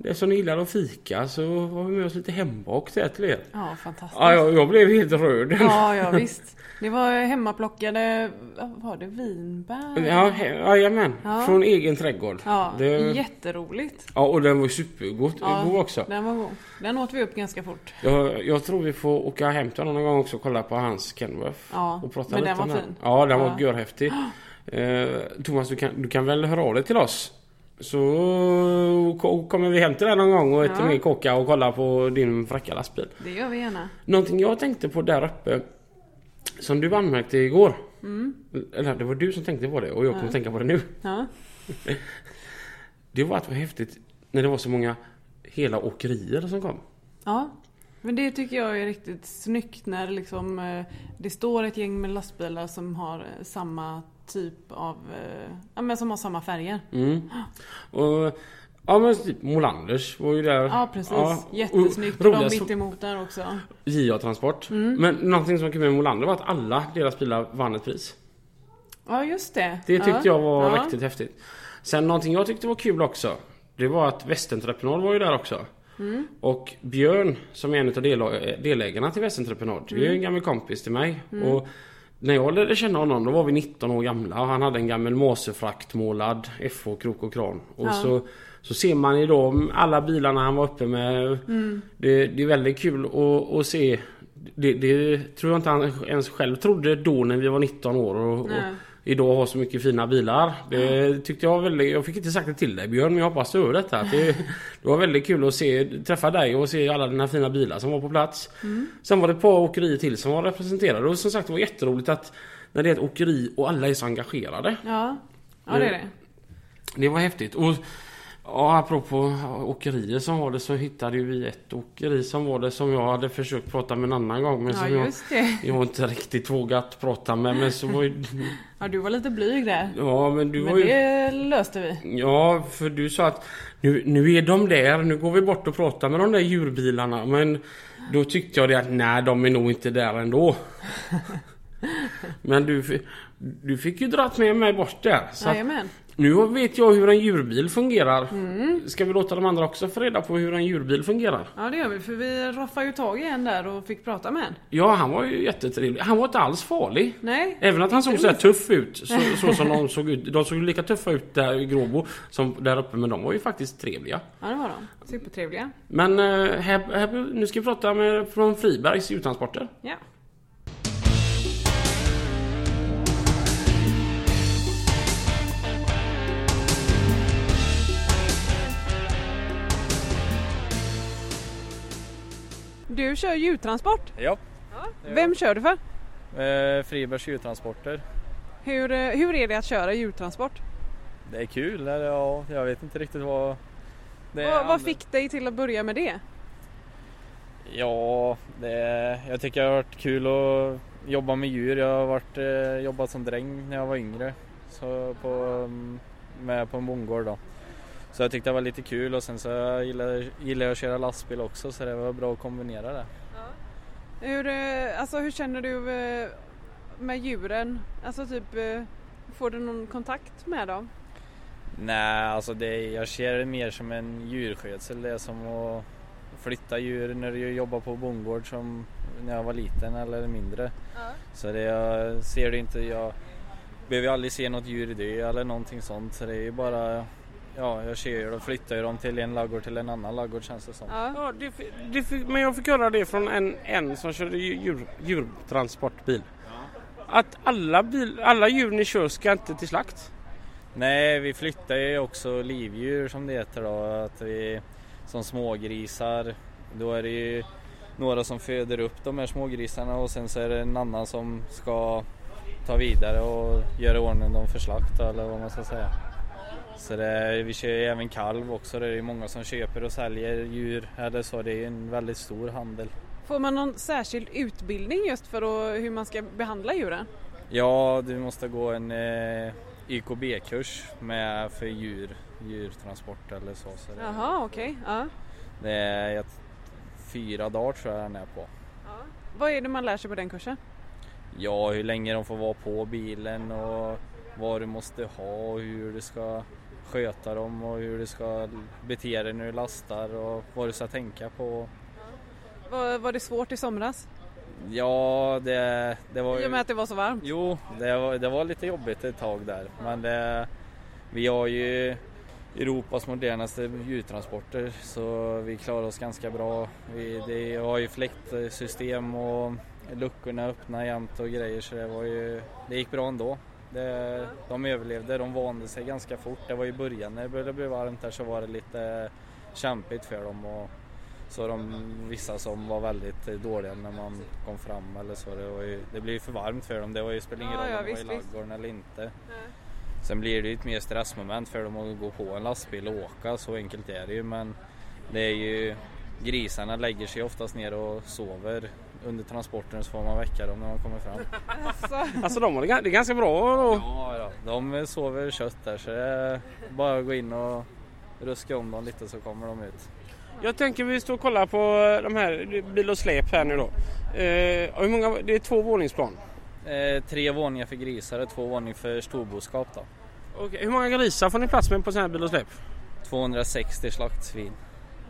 Speaker 3: eftersom ni gillar att fika så har vi med oss lite hembakt här till er.
Speaker 1: Ja, fantastiskt.
Speaker 3: Ja, jag, jag blev helt rörd.
Speaker 1: Ja, ja visst. Det var hemmaplockade, vad var det, vinbär?
Speaker 3: Ja, he- jajamän.
Speaker 1: Ja.
Speaker 3: Från egen trädgård.
Speaker 1: Ja,
Speaker 3: det,
Speaker 1: jätteroligt.
Speaker 3: ja och den var ju supergod
Speaker 1: Ja,
Speaker 3: god också.
Speaker 1: Den var god. Den åt vi upp ganska fort.
Speaker 3: Jag, jag tror vi får åka hem till honom någon gång också och kolla på hans Kenworth.
Speaker 1: Ja,
Speaker 3: och prata
Speaker 1: men
Speaker 3: lite
Speaker 1: den
Speaker 3: om
Speaker 1: var
Speaker 3: den.
Speaker 1: fin.
Speaker 3: Ja, den var
Speaker 1: Ja.
Speaker 3: görhäftig. Eh, Thomas, du kan, du kan väl höra av dig till oss? Så ko- kommer vi hem till dig någon gång och äter
Speaker 1: Ja.
Speaker 3: mer kocka och kollar på din fräcka lastbil.
Speaker 1: Det gör vi gärna.
Speaker 3: Någonting jag tänkte på där uppe som du anmärkte igår. Eller det var du som tänkte på det och jag kommer tänka på det nu.
Speaker 1: Mm. Ja.
Speaker 3: Det var att det var häftigt när det var så många hela åkerier som kom.
Speaker 1: ja. Men det tycker jag är riktigt snyggt när liksom, eh, det står ett gäng med lastbilar som har eh, samma typ av, eh, ja men som har samma färger.
Speaker 3: Mm. Och, ja men typ Molanders var ju där.
Speaker 1: Ja precis,
Speaker 3: Ja, Oh, och
Speaker 1: jättesnyggt. De
Speaker 3: roligast-
Speaker 1: mitt Mm. emot där också.
Speaker 3: JA Transport. Men någonting som kom med Molander var att alla deras bilar vann ett pris.
Speaker 1: Ja just det.
Speaker 3: Det tyckte
Speaker 1: ja.
Speaker 3: jag var
Speaker 1: ja.
Speaker 3: riktigt häftigt. Sen någonting jag tyckte var kul också. Det var att Västentreprenad var ju där också.
Speaker 1: Mm.
Speaker 3: Och Björn som är en av del- delägarna till Västentreprenad. Det
Speaker 1: Mm.
Speaker 3: är ju en gammal kompis till mig. Och när jag lärde känna honom då var vi 19 år gamla och han hade en gammal måsefraktmålad FH krok och kran. Och
Speaker 1: Ja.
Speaker 3: så, så ser man ju då alla bilarna han var uppe med.
Speaker 1: Mm.
Speaker 3: Det, det är väldigt kul att, att se. Det, det tror jag inte han ens själv trodde då när vi var 19 år. Och, och
Speaker 1: Nej.
Speaker 3: idag har så mycket fina bilar. Det tyckte jag var väldigt, jag fick inte sagt det till dig Björn men jag hoppas du hör detta. Att det, det var väldigt kul att se, träffa dig och se alla dina fina bilar som var på plats.
Speaker 1: Mm.
Speaker 3: Sen var det ett par åkerier till som var representerade och som sagt det var jätteroligt att när det är ett åkeri och alla är så engagerade.
Speaker 1: Ja. ja, det är det.
Speaker 3: Det var häftigt. Och ja, apropå åkerier som var det så hittade ju vi ett åkeri som var det som jag hade försökt prata med en annan gång men
Speaker 1: Ja
Speaker 3: som jag,
Speaker 1: just det.
Speaker 3: jag inte riktigt vågat prata med. Men så var ju,
Speaker 1: Ja du var lite blyg där.
Speaker 3: ja men du
Speaker 1: Men
Speaker 3: var ju...
Speaker 1: det löste vi.
Speaker 3: Ja, för du sa att nu, nu är de där, nu går vi bort och pratar med de där djurbilarna. Men då tyckte jag det att nej, de är nog inte där ändå. Men du, fi- du fick ju dratt med mig bort där. Så att
Speaker 1: Jajamän.
Speaker 3: nu vet jag hur en djurbil fungerar.
Speaker 1: Mm.
Speaker 3: Ska vi låta de andra också få reda på hur en djurbil fungerar?
Speaker 1: Ja det gör vi för vi roffade ju tag i en där och fick prata med en.
Speaker 3: Ja, han var ju jättetrevlig. Han var inte alls farlig.
Speaker 1: Nej.
Speaker 3: Även att han såg så här tuff ut, så, så som de såg ut. De såg lika tuffa ut där i Gråbo som där uppe, men de var ju faktiskt trevliga.
Speaker 1: Ja det var de. Supertrevliga.
Speaker 3: Men eh, här, här, nu ska vi prata med från Fribergs djurtransporter.
Speaker 1: Ja. Du kör djurtransport.
Speaker 9: Ja.
Speaker 1: Vem kör du för?
Speaker 9: Eh, Fribergs djurtransporter.
Speaker 1: Hur, eh, hur är det att köra djurtransport?
Speaker 9: Det är kul, eller ja, jag vet inte riktigt vad... Det
Speaker 1: Vad, vad fick dig till att börja med det?
Speaker 9: Ja, det, jag tycker det har varit kul att jobba med djur. Jag har varit, eh, jobbat som dräng när jag var yngre. Så på, mm, med på en bondgård då. Så jag tyckte det var lite kul och sen så jag gillar, gillar jag att köra lastbil också så det var bra att kombinera det.
Speaker 1: Hur, eh, alltså, hur känner du eh, med djuren? Alltså typ, eh, får du någon kontakt med dem?
Speaker 9: Nej, alltså det, jag ser det mer som en djurskötsel. Det är som att flytta djur när jag jobbar på bondgård som när jag var liten eller mindre. Så det, jag ser det inte, jag behöver ju aldrig se något djur dö eller någonting sånt. Så det är ju bara, ja jag ser ju och flyttar ju dem till en laggård till en annan laggård känns det som.
Speaker 1: Ja.
Speaker 3: Ja, det, fi- det, fi- men jag fick höra det från en, en som körde dju- djur, djurtransportbil. Att alla, bil, alla djur ni kör ska inte till slakt.
Speaker 9: Nej, vi flyttar ju också livdjur som det heter då. Att vi, som smågrisar, då är det ju några som föder upp de här smågrisarna och sen så är det en annan som ska ta vidare och göra i ordning dem för slakt eller vad man ska säga. Så det, vi kör ju även kalv också, det är ju många som köper och säljer djur eller så, det är ju en väldigt stor handel.
Speaker 1: Får man någon särskild utbildning just för att, hur man ska behandla djuren?
Speaker 9: Ja, du måste gå en eh, YKB-kurs med för djur, djurtransport eller så. så det,
Speaker 1: Jaha, okej. Ja.
Speaker 9: Det är ett, fyra dagar tror jag den är på.
Speaker 1: Vad är det man lär sig på den kursen?
Speaker 9: Ja, hur länge de får vara på bilen och vad du måste ha och hur du ska sköta dem och hur du ska bete dig när du lastar och vad du ska tänka på.
Speaker 1: Var, var det svårt i somras?
Speaker 9: Ja, det, det var
Speaker 1: I och med
Speaker 9: ju...
Speaker 1: att det var så varmt?
Speaker 9: Jo, det var, det var lite jobbigt ett tag där men det, vi har ju Europas modernaste djurtransporter så vi klarar oss ganska bra. Vi det har ju fläktsystem och luckorna öppna jämt och grejer så det, var ju, det gick bra ändå. Det, de överlevde, de vande sig ganska fort. Det var i början när det började bli varmt där så var det lite kämpigt för dem. Och, så de, vissa som var väldigt eh, dåliga när man kom fram eller så. Det, var ju, det blev ju för varmt för dem. Det var ju, spelade ingen
Speaker 1: Ja,
Speaker 9: roll
Speaker 1: ja,
Speaker 9: om de var i
Speaker 1: visst, visst.
Speaker 9: ladugården eller inte. Sen blir det ju ett mer stressmoment för dem att gå på en lastbil och åka, så enkelt är det ju. Men det är ju, grisarna lägger sig oftast ner och sover under transporten så får man väcka dem när de kommer fram.
Speaker 3: Alltså de har det, ga- det är ganska bra. Och,
Speaker 9: Ja, då. de sover kött där så det är bara att gå in och ruska om dem lite så kommer de ut.
Speaker 3: Jag tänker vi står och kollar på de här bil och släp här nu då. Eh, och hur många, det är två våningsplan.
Speaker 9: Eh, tre våningar för grisar och två våningar för storboskap då.
Speaker 3: Okej, hur många grisar får ni plats med på sån här bil och släp?
Speaker 9: 260 slaktsvin.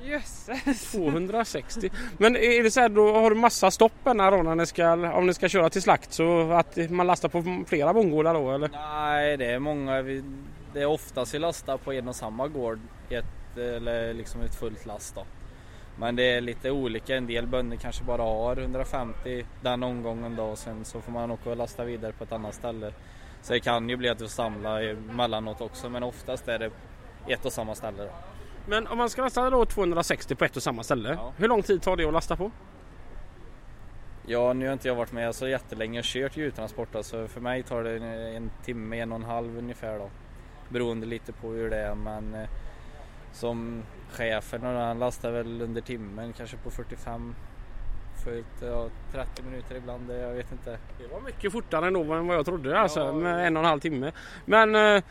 Speaker 1: Jösses!
Speaker 3: 260. Men är det så här, då har du massa stopp den här då när ni ska, om ni ska köra till slakt så att man lastar på flera bondgårdar då eller?
Speaker 9: Nej, det är många. Vi, det är oftast vi lastar på en och samma gård, i ett, eller liksom ett fullt last då. Men det är lite olika. En del bönder kanske bara har 150 den omgången då och sen så får man åka och lasta vidare på ett annat ställe. Så det kan ju bli att du samlar emellanåt också men oftast är det ett och samma ställe. Då.
Speaker 3: Men om man ska lasta då 260 på ett och samma ställe.
Speaker 9: Ja.
Speaker 3: Hur lång tid tar det att lasta på?
Speaker 9: Ja, nu har inte jag varit med så jättelänge och kört djurtransport då, så för mig tar det en, en timme, en och en halv ungefär då. Beroende lite på hur det är men eh, som chefen och han lastar väl under timmen kanske på 45 fullt, ja, 30 minuter ibland, det- jag vet inte.
Speaker 3: Det var mycket fortare ändå än vad jag trodde alltså,
Speaker 9: Ja.
Speaker 3: med en och en halv timme. Men eh,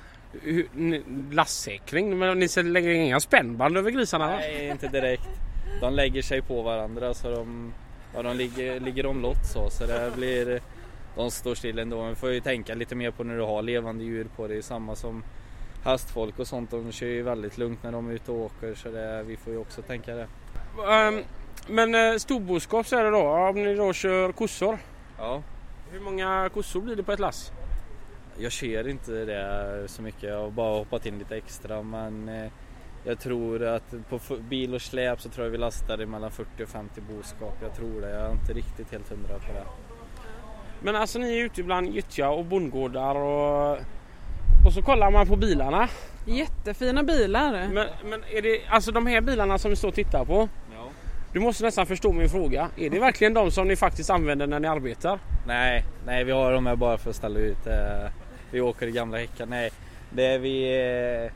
Speaker 3: hur- ni- lastsäkring, men ni lägger inga spännband över grisarna va?
Speaker 9: Nej, inte direkt. De lägger sig på varandra så de, ja, de ligger, ligger omlott så, så det blir de står still ändå. Man får ju tänka lite mer på när du har levande djur på dig. Samma som hästfolk och sånt. De kör ju väldigt lugnt när de är ute och åker så det, vi får ju också tänka det.
Speaker 3: Ehm, men eh, storboskap så är det då. Om ni då kör kossor.
Speaker 9: Ja.
Speaker 3: Hur många kossor blir det på ett lass?
Speaker 9: Jag kör inte det så mycket. Jag har bara hoppat in lite extra men eh, jag tror att på f- bil och släp så tror jag vi lastar mellan 40 och 50 boskap. Jag tror det. Jag är inte riktigt helt hundra på det.
Speaker 3: Men alltså ni är ute bland gyttja och bondgårdar och... Och så kollar man på bilarna.
Speaker 1: Jättefina bilar.
Speaker 3: Men, men är det alltså de här bilarna som vi står och tittar på?
Speaker 9: Ja.
Speaker 3: Du måste nästan förstå min fråga. Är det verkligen de som ni faktiskt använder när ni arbetar?
Speaker 9: Nej, nej vi har dem här bara för att ställa ut. eh, Vi åker i gamla häckar. Nej, det är vi... eh,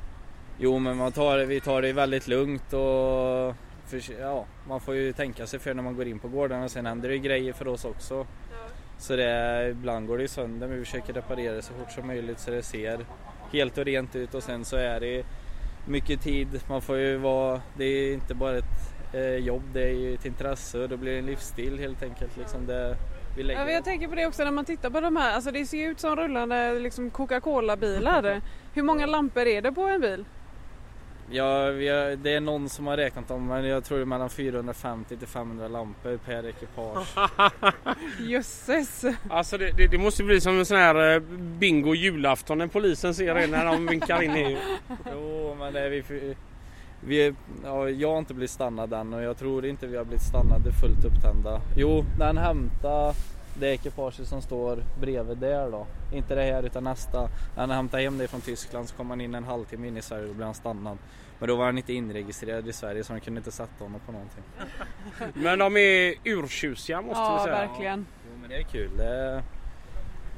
Speaker 9: Jo men man tar, vi tar det väldigt lugnt och förs- ja, man får ju tänka sig för när man går in på gården och sen händer det ju grejer för oss också. Så det, ibland går det ju sönder men vi försöker reparera det så fort som möjligt så det ser helt och rent ut och sen så är det mycket tid. Man får ju vara, det är inte bara ett eh, jobb, det är ju ett intresse och då blir det en livsstil helt enkelt. Liksom det, vi lägger
Speaker 1: Ja, men jag tänker på det också när man tittar på de här. Alltså det ser ju ut som rullande liksom Coca-Cola-bilar. Hur många lampor är det på en bil?
Speaker 9: Ja, vi har, det är någon som har räknat om men jag tror det är mellan 450 till 500 lampor per ekipage.
Speaker 1: Jösses!
Speaker 3: Alltså det, det, det måste bli som en sån här eh, bingo julafton när polisen ser er när de vinkar in i
Speaker 9: jo, men det är vi, för- vi är, ja, jag har inte blivit stannad än och jag tror inte vi har blivit stannade fullt upptända. Jo, den hämtar det ekipaget som står bredvid där då. Inte det här utan nästa. Han hämtade hem det från Tyskland så kom han in en halvtimme in i Sverige och då blev han stannad. Men då var han inte inregistrerad i Sverige så de kunde inte sätta honom på någonting.
Speaker 3: Men de är urtjusiga måste vi
Speaker 1: Ja,
Speaker 3: säga.
Speaker 1: verkligen.
Speaker 9: Jo men det är kul. Det,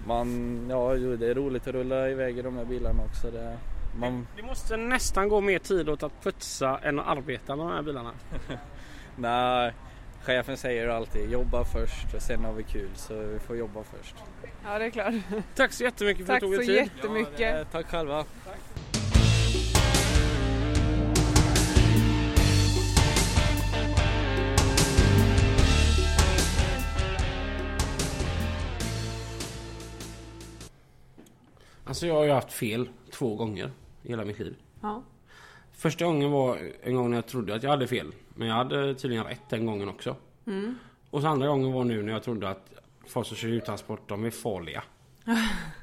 Speaker 9: man, ja, jo, det är roligt att rulla iväg i de här bilarna också. Det, man,
Speaker 3: Det måste nästan gå mer tid åt att putsa än att arbeta med de här bilarna.
Speaker 9: nej, chefen säger alltid jobba först och sen har vi kul så vi får jobba först.
Speaker 1: Ja, det är klart.
Speaker 3: Tack så jättemycket för att
Speaker 1: Tack
Speaker 3: du tog er
Speaker 1: så
Speaker 3: tid.
Speaker 1: jättemycket.
Speaker 9: Eh, Tack själva.
Speaker 3: Alltså jag har ju haft fel två gånger i hela mitt liv.
Speaker 1: Ja.
Speaker 3: Första gången var en gång när jag trodde att jag hade fel. Men jag hade tydligen rätt den gången också.
Speaker 1: Mm.
Speaker 3: Och så andra gången var nu när jag trodde att folk som kör uttransport de är farliga.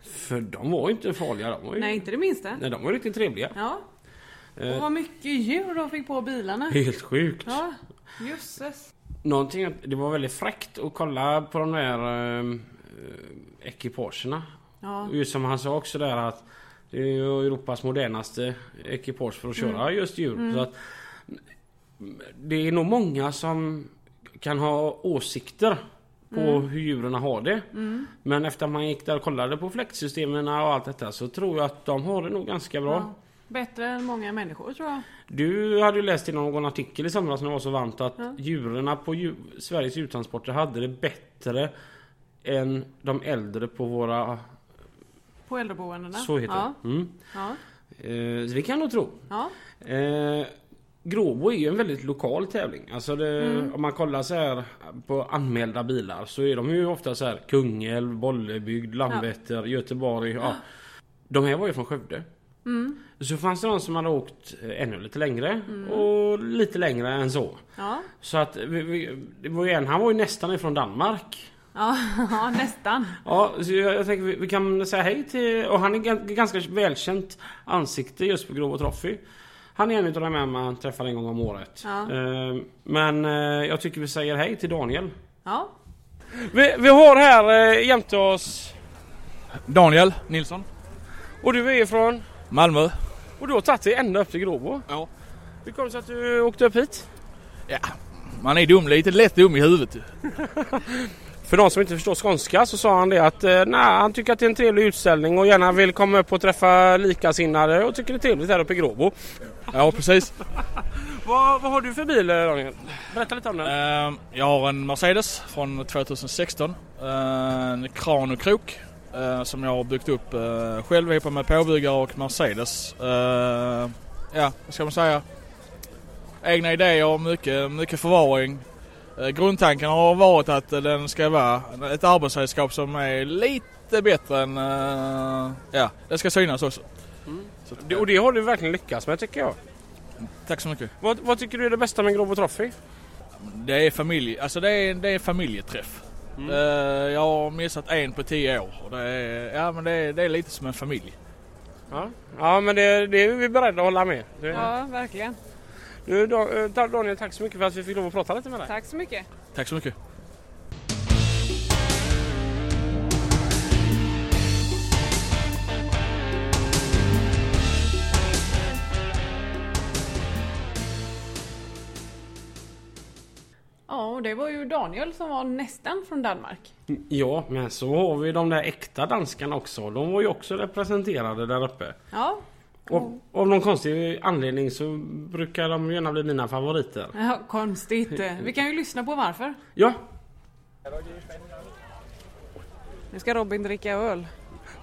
Speaker 3: För de var ju inte farliga. De var ju,
Speaker 1: Nej, inte det minsta.
Speaker 3: Nej, Eh. de var riktigt trevliga.
Speaker 1: Ja. Och vad mycket djur de fick på bilarna.
Speaker 3: Helt sjukt.
Speaker 1: Ja, jösses.
Speaker 3: Någonting, det var väldigt fräckt att kolla på de där eh, eh, ekipagerna.
Speaker 1: Ja.
Speaker 3: Och Just som han sa också där att det är ju Europas modernaste ekipage för att köra
Speaker 1: Mm.
Speaker 3: just djur. Så att, det är nog många som kan ha åsikter på
Speaker 1: Mm.
Speaker 3: hur djuren har det. Men efter att man gick där och kollade på fläktsystemen och allt detta så tror jag att de har det nog ganska bra.
Speaker 1: Ja. Bättre än många människor tror jag.
Speaker 3: Du hade ju läst i någon artikel i somras när det var så varmt att djuren på dju- Sveriges djurtransporter hade det bättre än de äldre på våra...
Speaker 1: På äldreboendena.
Speaker 3: Så heter
Speaker 1: ja.
Speaker 3: det. Mm.
Speaker 1: Ja.
Speaker 3: Eh, så vi kan nog tro.
Speaker 1: Ja.
Speaker 3: Eh, Gråbo är ju en väldigt lokal tävling. Alltså det, om man kollar så här på anmälda bilar så är de ju ofta så här Kungälv, Bollebygd, Landvetter, Göteborg. Ja. Mm. De här var ju från Skövde. Så fanns det de som hade åkt eh, ännu lite längre
Speaker 1: Mm.
Speaker 3: och lite längre än så.
Speaker 1: Ja.
Speaker 3: Så att vi, vi, det var ju en, han var ju nästan ifrån Danmark.
Speaker 1: Ja. ja, nästan.
Speaker 3: Ja, så jag, jag tänker vi, vi kan säga hej till... Och han är gan- ganska välkänt ansikte just på Grobo Trophy. Han är en utav de här man träffar en gång om året.
Speaker 1: Ja.
Speaker 3: Eh, Men eh, jag tycker vi säger hej till Daniel.
Speaker 1: Ja.
Speaker 3: Vi, vi har här eh, jämte oss...
Speaker 10: Daniel Nilsson.
Speaker 3: Och du är ifrån?
Speaker 10: Malmö.
Speaker 3: Och du har tagit dig ända upp till Grobo?
Speaker 10: Ja.
Speaker 3: Hur kom det sig att du åkte upp hit?
Speaker 10: Man är dum, lite lätt dum i huvudet. ju.
Speaker 3: För de som inte förstår skånska så sa han det att eh, nej, han tycker att det är en trevlig utställning och gärna vill komma upp och träffa likasinnade och tycker det är trevligt här uppe i Gråbo.
Speaker 10: Ja, precis.
Speaker 3: Vad, vad har du för bil eh, Daniel? Berätta lite om den.
Speaker 10: Ehm, Jag har en Mercedes från 2016. Ehm, En kran och krok eh, som jag har byggt upp eh, själv ihop med påbyggare och Mercedes. Ehm, Ja, vad ska man säga? Egna idéer och mycket, mycket förvaring. Eh, Eh, Grundtanken har varit att eh, den ska vara ett arbetsredskap som är lite bättre än... eh, Ja, det ska synas också.
Speaker 3: Det- Och det har du verkligen lyckats med tycker jag.
Speaker 10: Tack så mycket.
Speaker 3: Vad, vad tycker du är det bästa med Grobo Trophy?
Speaker 10: Det är familj, alltså det är, det är familjeträff. Eh, Jag har missat en på tio år och det är, ja, men det är, det är lite som en familj.
Speaker 3: Ja, ja men det, det är vi beredda att hålla med. Det-
Speaker 11: Ja, verkligen.
Speaker 3: Du, Dan- eh, ta- Daniel, tack så mycket för att vi fick lov att prata lite med dig.
Speaker 11: Tack så mycket.
Speaker 10: Tack så mycket.
Speaker 1: Ja, och det var ju Daniel som var nästan från Danmark.
Speaker 3: Ja, men så har vi de där äkta danskarna också. De var ju också representerade där uppe.
Speaker 1: Ja,
Speaker 3: Och av någon konstig anledning så brukar de gärna bli mina favoriter.
Speaker 1: ja konstigt. Vi kan ju lyssna på varför.
Speaker 3: Ja,
Speaker 1: Nu ska Robin dricka öl.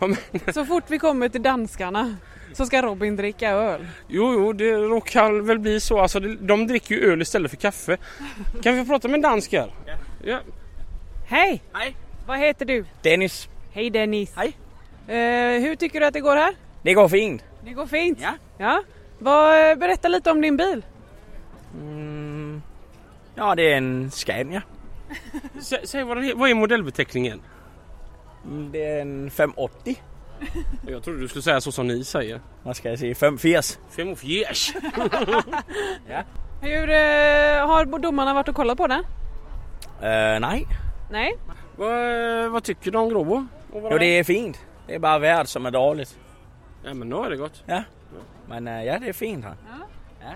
Speaker 3: Ja, men-
Speaker 1: Så fort vi kommer till danskarna så ska Robin dricka öl.
Speaker 3: jo, jo, det råkar väl bli så. Alltså, det- de dricker ju öl istället för kaffe. Kan vi prata med en dansk här? Ja.
Speaker 11: Hej! Hej! Vad heter du?
Speaker 12: Dennis,
Speaker 11: Hej Dennis! Hej! hur tycker du att det går här?
Speaker 12: det går fint.
Speaker 11: Det går fint? Ja. ja. Vad, eh, berätta lite om din bil.
Speaker 12: Mm. Ja, det är en Scania.
Speaker 3: Sä, säg vad, den, he- vad är modellbeteckningen?
Speaker 12: Mm, Det är en 580.
Speaker 3: Jag trodde du skulle säga så som ni säger.
Speaker 12: Vad ska jag säga? 540.
Speaker 3: Fem och fjärs.
Speaker 11: Hur eh, har domarna varit och kollat på den?
Speaker 12: Eh, nej,
Speaker 11: Nej?
Speaker 3: Vad, vad tycker du om Gråbo?
Speaker 12: jo, det är fint. Det är bara vädret som är dåligt.
Speaker 3: Ja, men då är det gott.
Speaker 12: Ja, men eh, ja, det är fint här.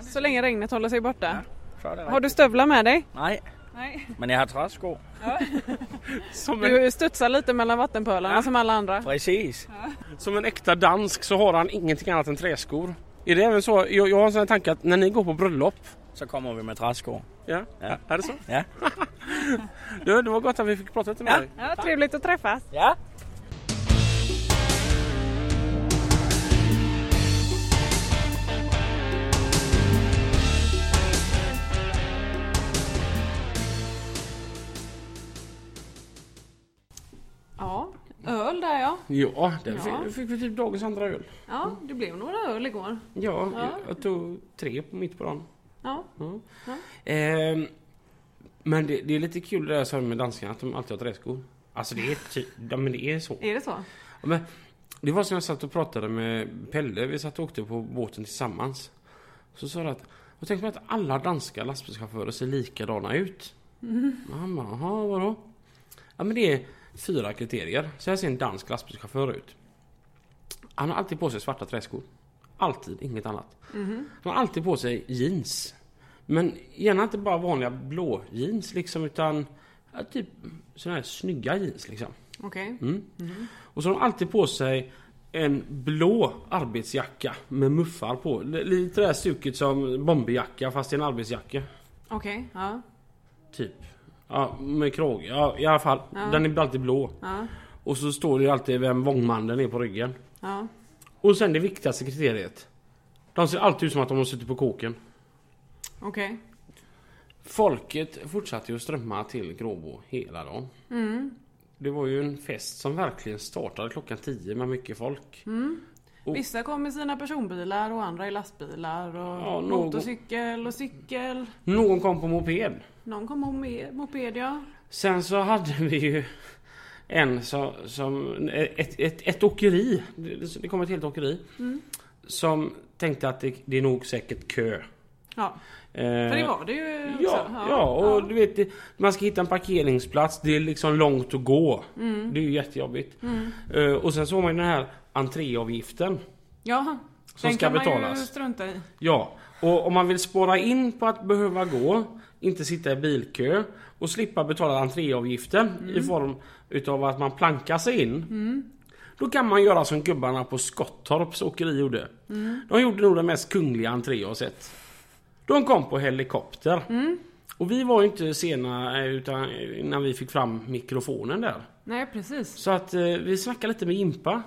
Speaker 11: Så länge regnet håller sig borta.
Speaker 12: Så är det
Speaker 11: Har du stövlar med dig?
Speaker 12: Nej,
Speaker 11: Nej.
Speaker 12: men jag har träskor.
Speaker 3: Som en,
Speaker 11: Du studsar lite mellan vattenpölarna som alla andra.
Speaker 12: Precis.
Speaker 3: som en äkta dansk så har han ingenting annat än träskor. Är det även så? Jag, jag har en sån här tanke att när ni går på bröllop.
Speaker 12: Så kommer vi med träskor.
Speaker 3: Ja,
Speaker 12: Ja.
Speaker 3: är det så?
Speaker 12: Ja.
Speaker 3: Du, det var gott att vi fick prata lite med dig.
Speaker 11: Ja, trevligt att träffas.
Speaker 12: Ja.
Speaker 1: Ja, öl där ja.
Speaker 3: Ja, där
Speaker 1: Ja.
Speaker 3: Fick, fick vi typ dagens andra öl.
Speaker 1: Ja, det blev några öl igår.
Speaker 3: Ja,
Speaker 1: Ja.
Speaker 3: jag tog tre på mitt på dagen.
Speaker 1: Ja,
Speaker 3: Ehm, men det, det är lite kul det där som med danskarna, att de alltid har träskor. Alltså det är typ, ja, men det är så.
Speaker 1: är det så?
Speaker 3: Ja, Men det var som jag satt och pratade med Pelle. Vi satt och åkte på båten tillsammans. Så sa jag att jag tänkte på att alla danska lastbilschaufförer ser likadana ut. Och Han bara, jaha vadå? Ja men det är fyra kriterier. Så här ser en dansk lastbilschaufför ut. Han har alltid på sig svarta träskor. Alltid, inget annat. Han har alltid på sig jeans. Men gärna inte bara vanliga blå jeans liksom utan ja, typ såna här snygga jeans liksom.
Speaker 1: Okej.
Speaker 3: Och så har de alltid på sig en blå arbetsjacka med muffar på. L- Lite det här stuket som bomberjacka fast det är en arbetsjacka.
Speaker 1: Okej, ja.
Speaker 3: Typ. Ja, med krage. Ja, i alla fall. Den är alltid blå.
Speaker 1: Ja.
Speaker 3: Och så står det ju alltid vem Vångmannen är på ryggen.
Speaker 1: Ja.
Speaker 3: Och sen det viktigaste kriteriet. De ser alltid ut som att de har suttit på koken.
Speaker 1: Okej.
Speaker 3: Folket fortsatte ju att strömma till Gråbo hela dagen. Det var ju en fest som verkligen startade klockan 10 med mycket folk. Mm. Och-
Speaker 1: Vissa kom i sina personbilar och andra i lastbilar och
Speaker 3: Ja, någon-
Speaker 1: motorcykel och cykel.
Speaker 3: Någon kom på moped.
Speaker 1: Någon kom om med moped ja.
Speaker 3: Sen så hade vi ju en som... som ett, ett, ett åkeri. Det det kom ett helt åkeri.
Speaker 1: Mm.
Speaker 3: Som tänkte att det, det är nog säkert kö. Eh,
Speaker 1: ja. För det var det ju också.
Speaker 3: Ja, ja, och du vet det- man ska hitta en parkeringsplats. Det är liksom långt att gå.
Speaker 1: Mm.
Speaker 3: Det är ju jättejobbigt. Eh, och sen såg man ju den här entréavgiften.
Speaker 1: ja.
Speaker 3: Som
Speaker 1: den
Speaker 3: ska
Speaker 1: kan man ju
Speaker 3: betalas.
Speaker 1: strunta i.
Speaker 3: Ja, och om man vill spara in på att behöva gå, inte sitta i bilkö och slippa betala entréavgiften i form utav att man plankar sig in. Då kan man göra som gubbarna på Skottorps åkeri gjorde. De gjorde nog den mest kungliga entré jag har sett. De kom på helikopter. Och vi var ju inte sena eh, utan innan vi fick fram mikrofonen där.
Speaker 1: Nej precis.
Speaker 3: Så att eh, vi snackade lite med Impa.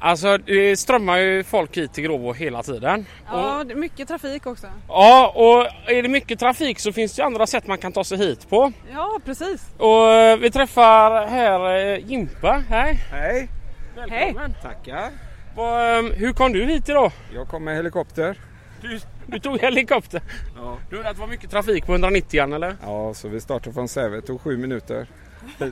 Speaker 13: Alltså det strömmar ju folk hit till Gråbo hela tiden.
Speaker 11: Ja, det är mycket trafik också.
Speaker 13: Ja, och är det mycket trafik så finns det ju andra sätt man kan ta sig hit på.
Speaker 11: Ja, precis.
Speaker 13: Och eh, vi träffar här eh, Jimpa. Hej! Hej!
Speaker 11: Välkommen!
Speaker 13: Tackar! ehm, hur kom du hit idag?
Speaker 14: Jag kom med helikopter.
Speaker 13: Du, du tog helikopter?
Speaker 14: Ja.
Speaker 13: Du hörde att det var mycket trafik på 190 eller?
Speaker 14: Ja, så vi startade från Säve. Det tog sju minuter.
Speaker 13: Det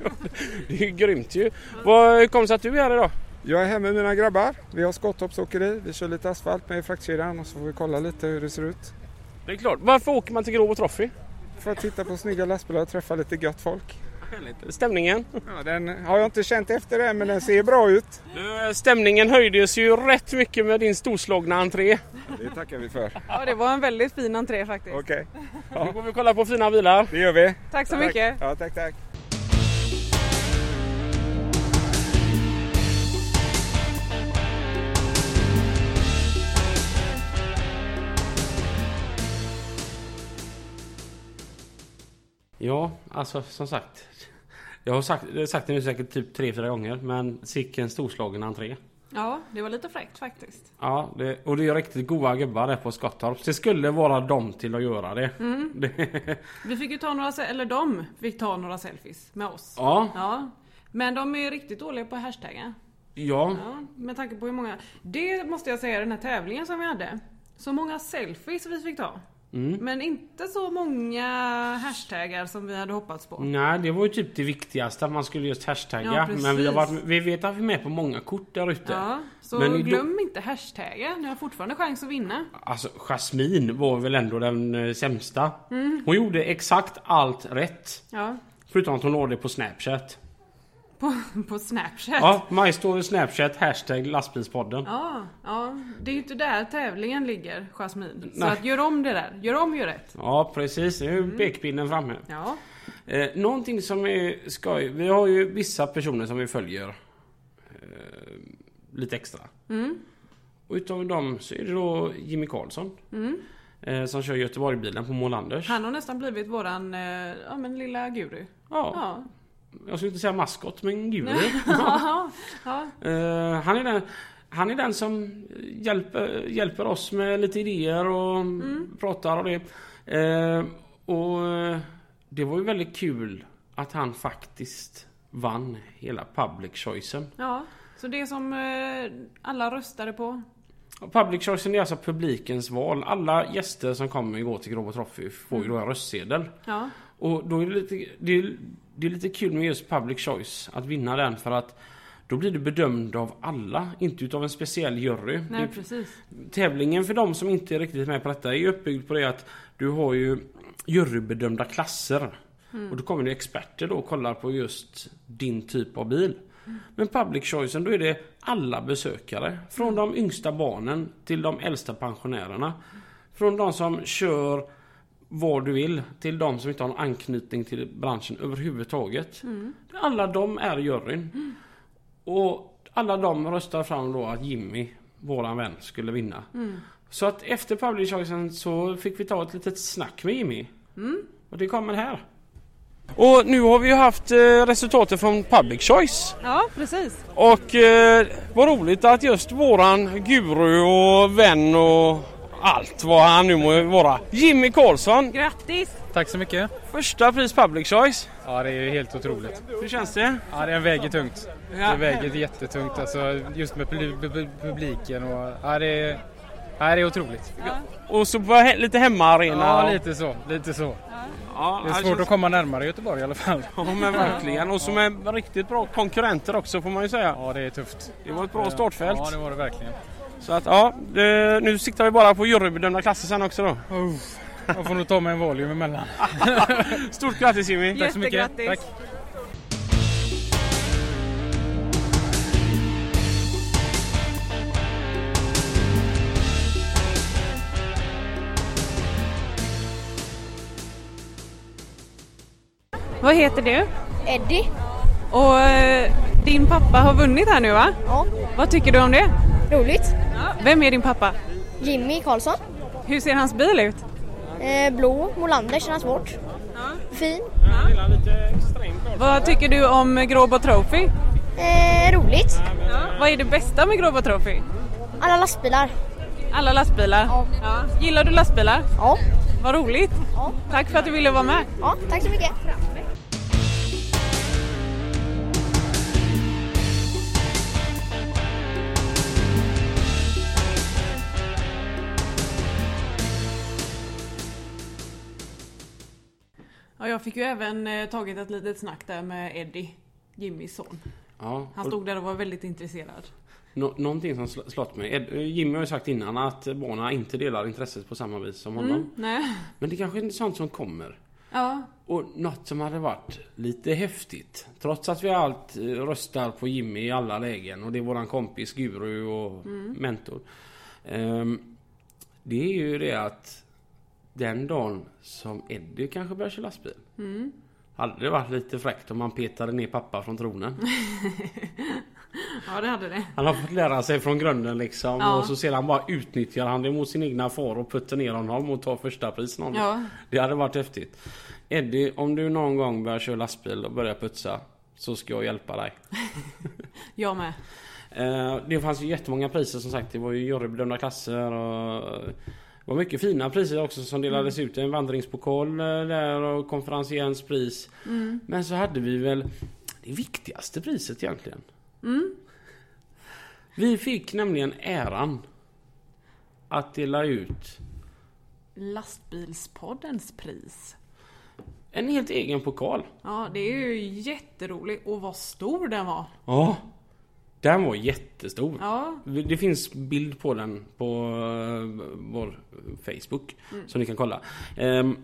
Speaker 13: är ju grymt ju. Vad- Hur kom det sig att du är här idag?
Speaker 14: Jag är här med mina grabbar. Vi har Skottorpsåkeri. Vi kör lite asfalt med i fraktkedjan och så får vi kolla lite hur det ser ut.
Speaker 13: Det är klart. Varför åker man till Gråbo Trophy?
Speaker 14: För att titta på snygga lastbilar och träffa lite gött folk.
Speaker 13: Stämningen?
Speaker 14: Ja, den har jag inte känt efter än men den ser bra ut.
Speaker 13: Du, eh, Stämningen höjdes ju rätt mycket med din storslagna entré.
Speaker 14: Det tackar vi för.
Speaker 11: Ja, det var en väldigt fin entré faktiskt. Okej.
Speaker 13: Nu går vi och kollar på fina bilar.
Speaker 14: Det gör vi.
Speaker 11: Tack så mycket.
Speaker 14: Ja, tack, tack.
Speaker 3: Ja, alltså som sagt. Jag har sagt, jag har sagt det nu säkert typ tre, fyra gånger. Men sicken storslagen entré.
Speaker 1: Ja, det var lite fräckt faktiskt.
Speaker 3: Ja, det, och det är riktigt goa gubbar där på Skottorp. Det skulle vara dem till att göra det.
Speaker 1: Mm.
Speaker 3: det
Speaker 1: Vi fick ju ta några, se- eller de fick ta några selfies med oss.
Speaker 3: Ja.
Speaker 1: Men de är ju riktigt dåliga på att hashtagga.
Speaker 3: ja,
Speaker 1: Ja, med tanke på hur många. Det måste jag säga, den här tävlingen som vi hade. Så många selfies vi fick ta.
Speaker 3: Mm.
Speaker 1: Men inte så många hashtaggar som vi hade hoppats på.
Speaker 3: Nej, det var ju typ det viktigaste att man skulle just hashtagga.
Speaker 1: Ja, precis.
Speaker 3: men vi, har varit, vi vet att vi är med på många kort där ute.
Speaker 1: Ja, så
Speaker 3: Men i do-
Speaker 1: glöm inte hashtagga. Ni har fortfarande chans att vinna.
Speaker 3: Alltså Jasmine var väl ändå den eh, sämsta.
Speaker 1: Mm.
Speaker 3: Hon gjorde exakt allt rätt.
Speaker 1: Ja,
Speaker 3: Förutom att hon lade det på Snapchat.
Speaker 1: på, på Snapchat.
Speaker 3: Ja, My Story Snapchat, hashtag lastbilspodden.
Speaker 1: Ja, ja, det är ju inte där tävlingen ligger, Jasmine. Så
Speaker 3: Nej.
Speaker 1: att gör om det där. Gör om, gör rätt.
Speaker 3: Ja precis, nu är
Speaker 1: Mm.
Speaker 3: pekpinnen framme.
Speaker 1: Ja.
Speaker 3: Eh, någonting som är skoj. Vi har ju vissa personer som vi följer. Eh, lite extra.
Speaker 1: Mm.
Speaker 3: Och utav dem så är det då Jimmy Karlsson.
Speaker 1: Mm.
Speaker 3: Eh, som kör Göteborgbilen på Målanders.
Speaker 1: Han har nästan blivit våran eh, ja, men lilla guru.
Speaker 3: Ja.
Speaker 1: Ja.
Speaker 3: Jag skulle inte säga maskot men guru.
Speaker 1: ja. ja.
Speaker 3: Eh, han, är den, han är den som hjälper, hjälper oss med lite idéer och
Speaker 1: Mm.
Speaker 3: pratar och det. Eh, och eh, det var ju väldigt kul att han faktiskt vann hela public choicen.
Speaker 1: Ja, så det som eh, alla röstade på.
Speaker 3: Och Public choicen är alltså publikens val. Alla gäster som kommer går till Gråbo Trophy får ju då en röstsedel.
Speaker 1: Ja,
Speaker 3: Och då är det lite, det är, det är lite kul med just public choice, att vinna den för att då blir du bedömd av alla, inte utav en speciell jury.
Speaker 1: nej
Speaker 3: Det-
Speaker 1: precis.
Speaker 3: Tävlingen för de som inte är riktigt med på detta är ju uppbyggd på det att du har ju jurybedömda klasser.
Speaker 1: Mm.
Speaker 3: Och då kommer det experter då och kollar på just din typ av bil. Men public choicen då är det alla besökare. Från de yngsta barnen till de äldsta pensionärerna. Från de som kör vad du vill till de som inte har någon anknytning till branschen överhuvudtaget.
Speaker 1: Mm.
Speaker 3: Alla de är juryn. Och alla de röstar fram då att Jimmy, våran vän, skulle vinna.
Speaker 1: Mm.
Speaker 3: Så att efter public choicen så fick vi ta ett litet snack med Jimmy.
Speaker 1: Mm.
Speaker 3: Och det kommer här. Och nu har vi ju haft eh, resultatet från public choice.
Speaker 11: Ja, precis.
Speaker 3: Och eh, vad roligt att just våran guru och vän och allt vad han nu må vara. Jimmy Karlsson.
Speaker 11: Grattis!
Speaker 15: Tack så mycket.
Speaker 3: Första pris public choice.
Speaker 15: Ja, det är ju helt otroligt.
Speaker 3: Hur känns det?
Speaker 15: Ja, det väger tungt.
Speaker 3: Ja.
Speaker 15: Det väger jättetungt alltså, just med publi- pu- publiken och... Ja, det är, ja, det är otroligt.
Speaker 3: Och så på he- lite hemmaarena.
Speaker 15: Ja, lite så. Lite så.
Speaker 3: Ja,
Speaker 15: Det är
Speaker 3: han
Speaker 13: alltså,
Speaker 15: svårt
Speaker 3: känns-
Speaker 15: att komma närmare Göteborg i alla fall.
Speaker 3: Ja men verkligen. Och som är riktigt bra konkurrenter också får man ju säga.
Speaker 15: Ja det är tufft.
Speaker 3: Det var ett bra startfält.
Speaker 15: Ja, det var det verkligen.
Speaker 3: Så att ja, det, nu siktar vi bara på jurybedömda klasser sen också då.
Speaker 15: Jag får nog ta mig en Valium emellan.
Speaker 3: Stort grattis Jimmy!
Speaker 15: Tack så mycket. Tack.
Speaker 11: Vad heter du?
Speaker 16: Eddie.
Speaker 11: Och eh, din pappa har vunnit här nu va? Ja. Vad tycker du om det?
Speaker 16: Roligt.
Speaker 11: Vem är din pappa?
Speaker 16: Jimmy Karlsson.
Speaker 11: Hur ser hans bil ut?
Speaker 16: Eh, blå, Molander känns svårt. Fin.
Speaker 3: Lite extremt
Speaker 11: Vad tycker du om Gråbo Trophy?
Speaker 16: Eh, roligt.
Speaker 11: Vad är det bästa med Gråbo Trophy?
Speaker 16: Alla lastbilar.
Speaker 11: Alla lastbilar? Ja. Gillar du lastbilar?
Speaker 16: Ja.
Speaker 11: Vad roligt! Tack för att du ville vara med.
Speaker 16: Ja, tack så mycket.
Speaker 1: Ja, jag fick ju även eh, tagit ett litet snack där med Eddie, Jimmys son.
Speaker 3: Ja,
Speaker 1: Han
Speaker 3: och-
Speaker 1: stod där och var väldigt intresserad.
Speaker 3: Nå- någonting som sl- slått mig. Ed- Jimmy har ju sagt innan att barnen inte delar intresset på samma vis som honom.
Speaker 1: Mm, nej.
Speaker 3: Men det kanske är sånt som kommer.
Speaker 1: Ja,
Speaker 3: Och något som hade varit lite häftigt. Trots att vi allt eh, röstar på Jimmy i alla lägen och det är våran kompis, guru och
Speaker 17: Mm.
Speaker 3: mentor. Ehm, det är ju det att den dagen som Eddie kanske börjar köra lastbil.
Speaker 1: Mm.
Speaker 3: Hade det varit lite fräckt om man petade ner pappa från tronen.
Speaker 1: ja det hade det.
Speaker 3: Han har fått lära sig från grunden liksom
Speaker 1: Ja.
Speaker 3: och så sedan bara utnyttjar han det mot sin egna far och puttar ner honom och tar första pris någon gång.
Speaker 1: Ja.
Speaker 3: Det hade varit häftigt. Eddie, om du någon gång börjar köra lastbil och börjar putsa så ska jag hjälpa dig.
Speaker 1: Jag med.
Speaker 3: Eh, Det fanns ju jättemånga priser som sagt. Det var ju jurybedömda klasser och det var mycket fina priser också som
Speaker 1: Mm.
Speaker 3: delades ut. En vandringspokal eh, där och konferenciens pris.
Speaker 1: Mm.
Speaker 3: Men så hade vi väl det viktigaste priset egentligen.
Speaker 1: Mm.
Speaker 3: Vi fick nämligen äran att dela ut
Speaker 1: Lastbilspoddens pris.
Speaker 3: en helt egen pokal.
Speaker 1: Ja, det är ju jätteroligt. Och vad stor den var.
Speaker 3: Ja. Den var jättestor.
Speaker 1: Ja.
Speaker 3: Det finns bild på den på eh, vår Facebook
Speaker 1: Mm.
Speaker 3: som ni kan kolla. Ehm,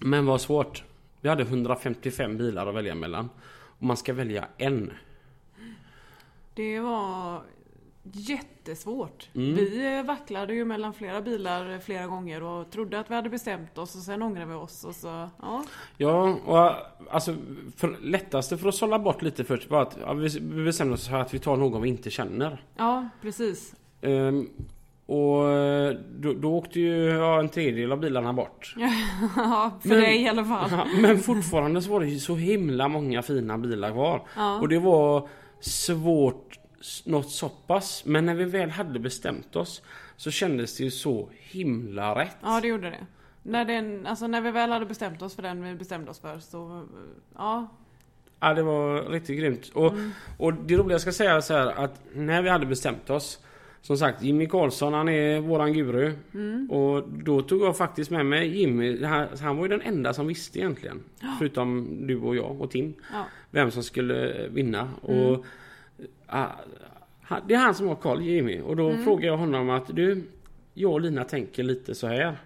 Speaker 3: Men vad svårt. Vi hade 155 bilar att välja mellan. Och man ska välja en.
Speaker 1: Det var jättesvårt.
Speaker 3: Mm.
Speaker 1: Vi eh, vacklade ju mellan flera bilar eh, flera gånger och trodde att vi hade bestämt oss och sen ångrade vi oss och så, ja.
Speaker 3: Ja, och alltså för, lättaste för att sålla bort lite först var att ja, vi vi bestämde oss för att vi tar någon vi inte känner.
Speaker 1: Ja, precis.
Speaker 3: Ehm, och eh, då, då åkte ju ja, en tredjedel av bilarna bort.
Speaker 1: Ja, för
Speaker 3: Men-
Speaker 1: dig i alla fall.
Speaker 3: Ja, men fortfarande så var det ju så himla många fina bilar kvar.
Speaker 1: Ja.
Speaker 3: Och det var svårt s- något så pass. Men när vi väl hade bestämt oss så kändes det ju så himla rätt.
Speaker 1: Ja, det gjorde det. När, den, alltså när vi väl hade bestämt oss för den vi bestämde oss för så, eh, ja.
Speaker 3: Ja, det var riktigt grymt. Och,
Speaker 1: Mm.
Speaker 3: och det roliga jag ska säga är så här att när vi hade bestämt oss. Som sagt, Jimmy Karlsson han är våran guru.
Speaker 1: Mm.
Speaker 3: Och då tog jag faktiskt med mig Jimmy. Han, han var ju den enda som visste egentligen.
Speaker 1: Ja.
Speaker 3: Förutom du och jag och Tim.
Speaker 1: Ja.
Speaker 3: Vem som skulle eh, vinna.
Speaker 1: Mm.
Speaker 3: Och, ah, han- det är han som har koll, Jimmy. Och då
Speaker 1: Mm.
Speaker 3: frågar jag honom att du, jag och Lina tänker lite så här.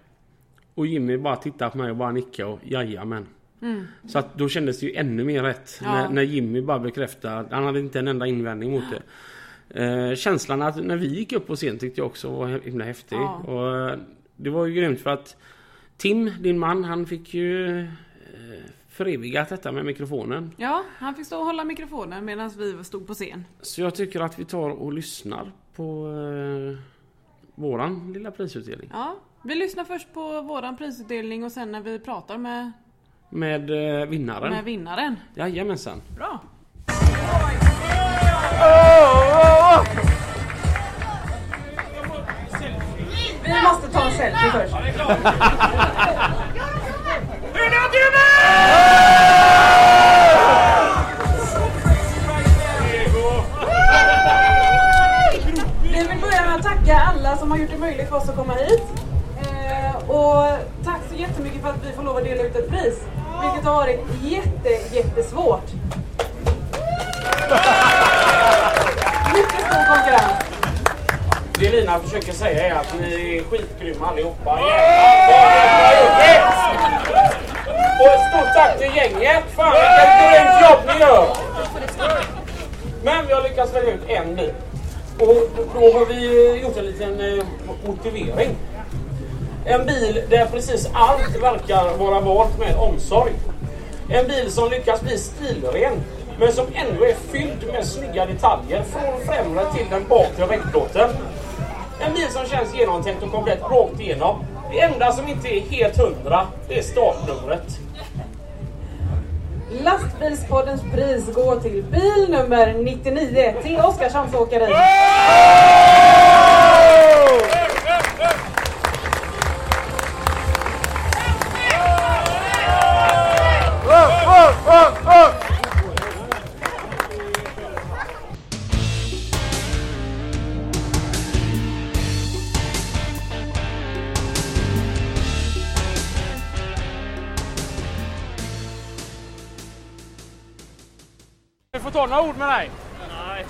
Speaker 3: Och Jimmy bara tittar på mig och bara nickar och jajamän.
Speaker 1: Mm.
Speaker 3: Så att då kändes det ju ännu mer rätt
Speaker 1: Ja.
Speaker 3: när, när Jimmy bara bekräftade. Han hade inte en enda invändning mot det. Eh, känslan att när vi gick upp på scen tyckte jag också var himla häftig.
Speaker 1: Ja.
Speaker 3: Och, eh, det var ju grymt för att Tim, din man, han fick ju eh, förevigat detta med mikrofonen.
Speaker 1: Ja, han fick stå och hålla mikrofonen medan vi stod på scen.
Speaker 3: Så jag tycker att vi tar och lyssnar på eh, våran lilla prisutdelning.
Speaker 1: Ja, vi lyssnar först på våran prisutdelning och sen när vi pratar med,
Speaker 3: Med eh, vinnaren.
Speaker 1: med vinnaren.
Speaker 3: Jajamensan.
Speaker 1: Bra! Vi måste ta en selfie först. Vi vill börja med att tacka alla som har gjort det möjligt för oss att komma hit. Eh, och tack så jättemycket för att vi får lov att dela ut ett pris. Vilket har varit jätte, jättesvårt. Mycket stor konkurrens.
Speaker 3: Det Lina försöker säga är att ni är skitgrymma allihopa. Och ett stort tack till gänget! Fan vilket grymt jobb ni gör! Men vi har lyckats välja ut en bil. Och då har vi gjort en liten eh, motivering. En bil där precis allt verkar vara valt med omsorg. En bil som lyckas bli stilren men som ändå är fylld med snygga detaljer från främre till den bakre vägplåten. En bil som känns genomtänkt och komplett rakt igenom. Det enda som inte är helt hundra, det är startnumret.
Speaker 1: Lastbilspoddens pris går till bil nummer 99, T. Oskarshamns Åkeri.
Speaker 18: Vi får ta några ord med dig. Nej.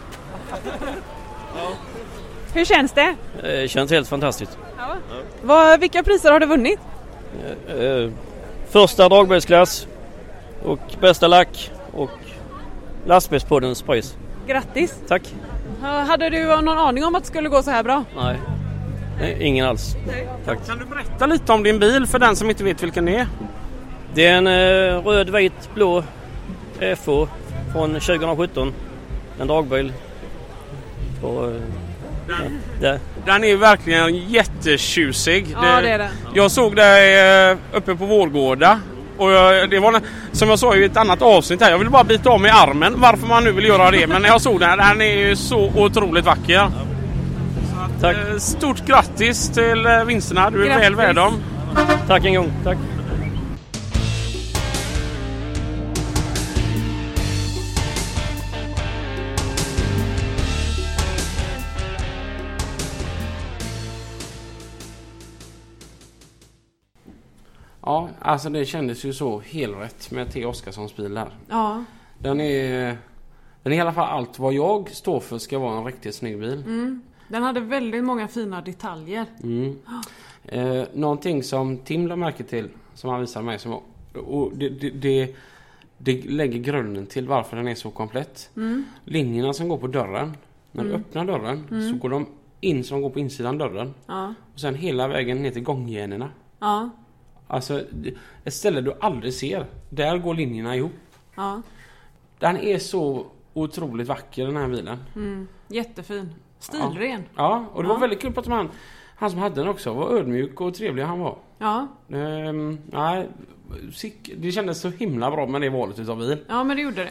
Speaker 1: Hur känns det?
Speaker 17: Eh, känns helt fantastiskt.
Speaker 1: Ja. Vad, vilka priser har du vunnit?
Speaker 17: Eh, eh, första dragbilsklass och bästa lack och lastbilspoddens pris.
Speaker 1: Grattis!
Speaker 17: Tack!
Speaker 1: Ja, Hade du någon aning om att det skulle gå så här bra?
Speaker 17: Nej, Nej, ingen alls. Tack.
Speaker 18: Kan du berätta lite om din bil för den som inte vet vilken det är?
Speaker 17: Det är en eh, röd, vit, blå FH från 2017. En dragbil. Och, eh, ja,
Speaker 18: Den är ju verkligen jättetjusig.
Speaker 1: Ja, det är den.
Speaker 18: Jag såg dig eh, uppe på Vårgårda. Och jag, det var, som jag sa i ett annat avsnitt här, jag ville bara bita av mig armen varför man nu vill göra det. Men när jag såg den här, den är ju så otroligt vacker. Så att, eh, Stort grattis till eh, vinsterna, du är
Speaker 17: Grattis.
Speaker 18: väl värd dem.
Speaker 17: Tack en gång. Tack.
Speaker 3: Ja, alltså det kändes ju så helrätt med T. Oskarssons bil där.
Speaker 1: Ja.
Speaker 3: Den är... Den är i alla fall allt vad jag står för ska vara en riktigt snygg bil.
Speaker 1: Mm. Den hade väldigt många fina detaljer.
Speaker 3: Mm. Eh, någonting som Tim la märke till som han visade mig som och det, det, det, det lägger grunden till varför den är så komplett.
Speaker 1: Mm.
Speaker 3: Linjerna som går på dörren. När du
Speaker 1: Mm.
Speaker 3: öppnar dörren
Speaker 1: Mm.
Speaker 3: så går de in som går på insidan dörren.
Speaker 1: Ja.
Speaker 3: Och sen hela vägen ner till gångjärnorna.
Speaker 1: Ja.
Speaker 3: Alltså det- ett ställe du aldrig ser. Där går linjerna ihop.
Speaker 1: ja.
Speaker 3: Den är så otroligt vacker den här bilen.
Speaker 1: Mm. Jättefin. Stilren.
Speaker 3: Ja, och det
Speaker 1: Ja.
Speaker 3: var väldigt kul att prata med han. Han som hade den också. Vad ödmjuk och trevlig han var.
Speaker 1: Ja.
Speaker 3: Ehm, nej, sick- det kändes så himla bra med det valet utav bil.
Speaker 1: ja, men det gjorde det.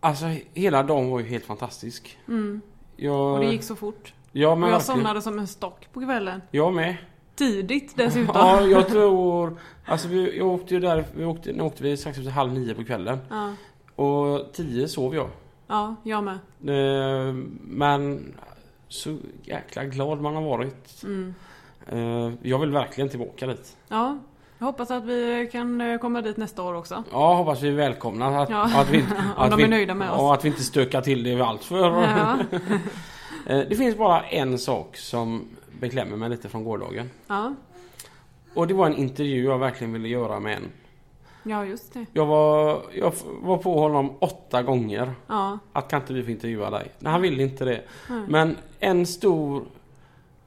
Speaker 3: Alltså hela dagen var ju helt fantastisk.
Speaker 1: Mm.
Speaker 3: Jag,
Speaker 1: Och det gick så fort.
Speaker 3: Ja, men
Speaker 1: och jag
Speaker 3: verkligen.
Speaker 1: somnade som en stock på kvällen.
Speaker 3: Jag med.
Speaker 1: Tidigt dessutom.
Speaker 3: Ja, jag tror... Alltså vi, jag åkte ju där... Vi åkte, när åkte vi strax efter halv nio på kvällen.
Speaker 1: Ja.
Speaker 3: Och tio sov jag.
Speaker 1: ja, jag med.
Speaker 3: Ehm, men så jäkla glad man har varit.
Speaker 1: Mm.
Speaker 3: Ehm, jag vill verkligen tillbaka dit.
Speaker 1: Ja. Jag hoppas att vi kan eh, komma dit nästa år också.
Speaker 3: Ja, hoppas vi är välkomna. Att,
Speaker 1: Ja,
Speaker 3: att vi,
Speaker 1: om
Speaker 3: att
Speaker 1: de
Speaker 3: vi,
Speaker 1: är nöjda med
Speaker 3: ja,
Speaker 1: oss.
Speaker 3: att vi inte stökar till det allt för.
Speaker 1: Ja.
Speaker 3: Eh, det finns bara en sak som beklämmer mig lite från gårdagen.
Speaker 1: Ja,
Speaker 3: Och det var en intervju jag verkligen ville göra med en.
Speaker 1: ja just det.
Speaker 3: Jag var, jag f- var på honom åtta gånger.
Speaker 1: Ja.
Speaker 3: Att kan inte vi få intervjua dig? Nej, han ville inte det.
Speaker 1: Nej.
Speaker 3: Men en stor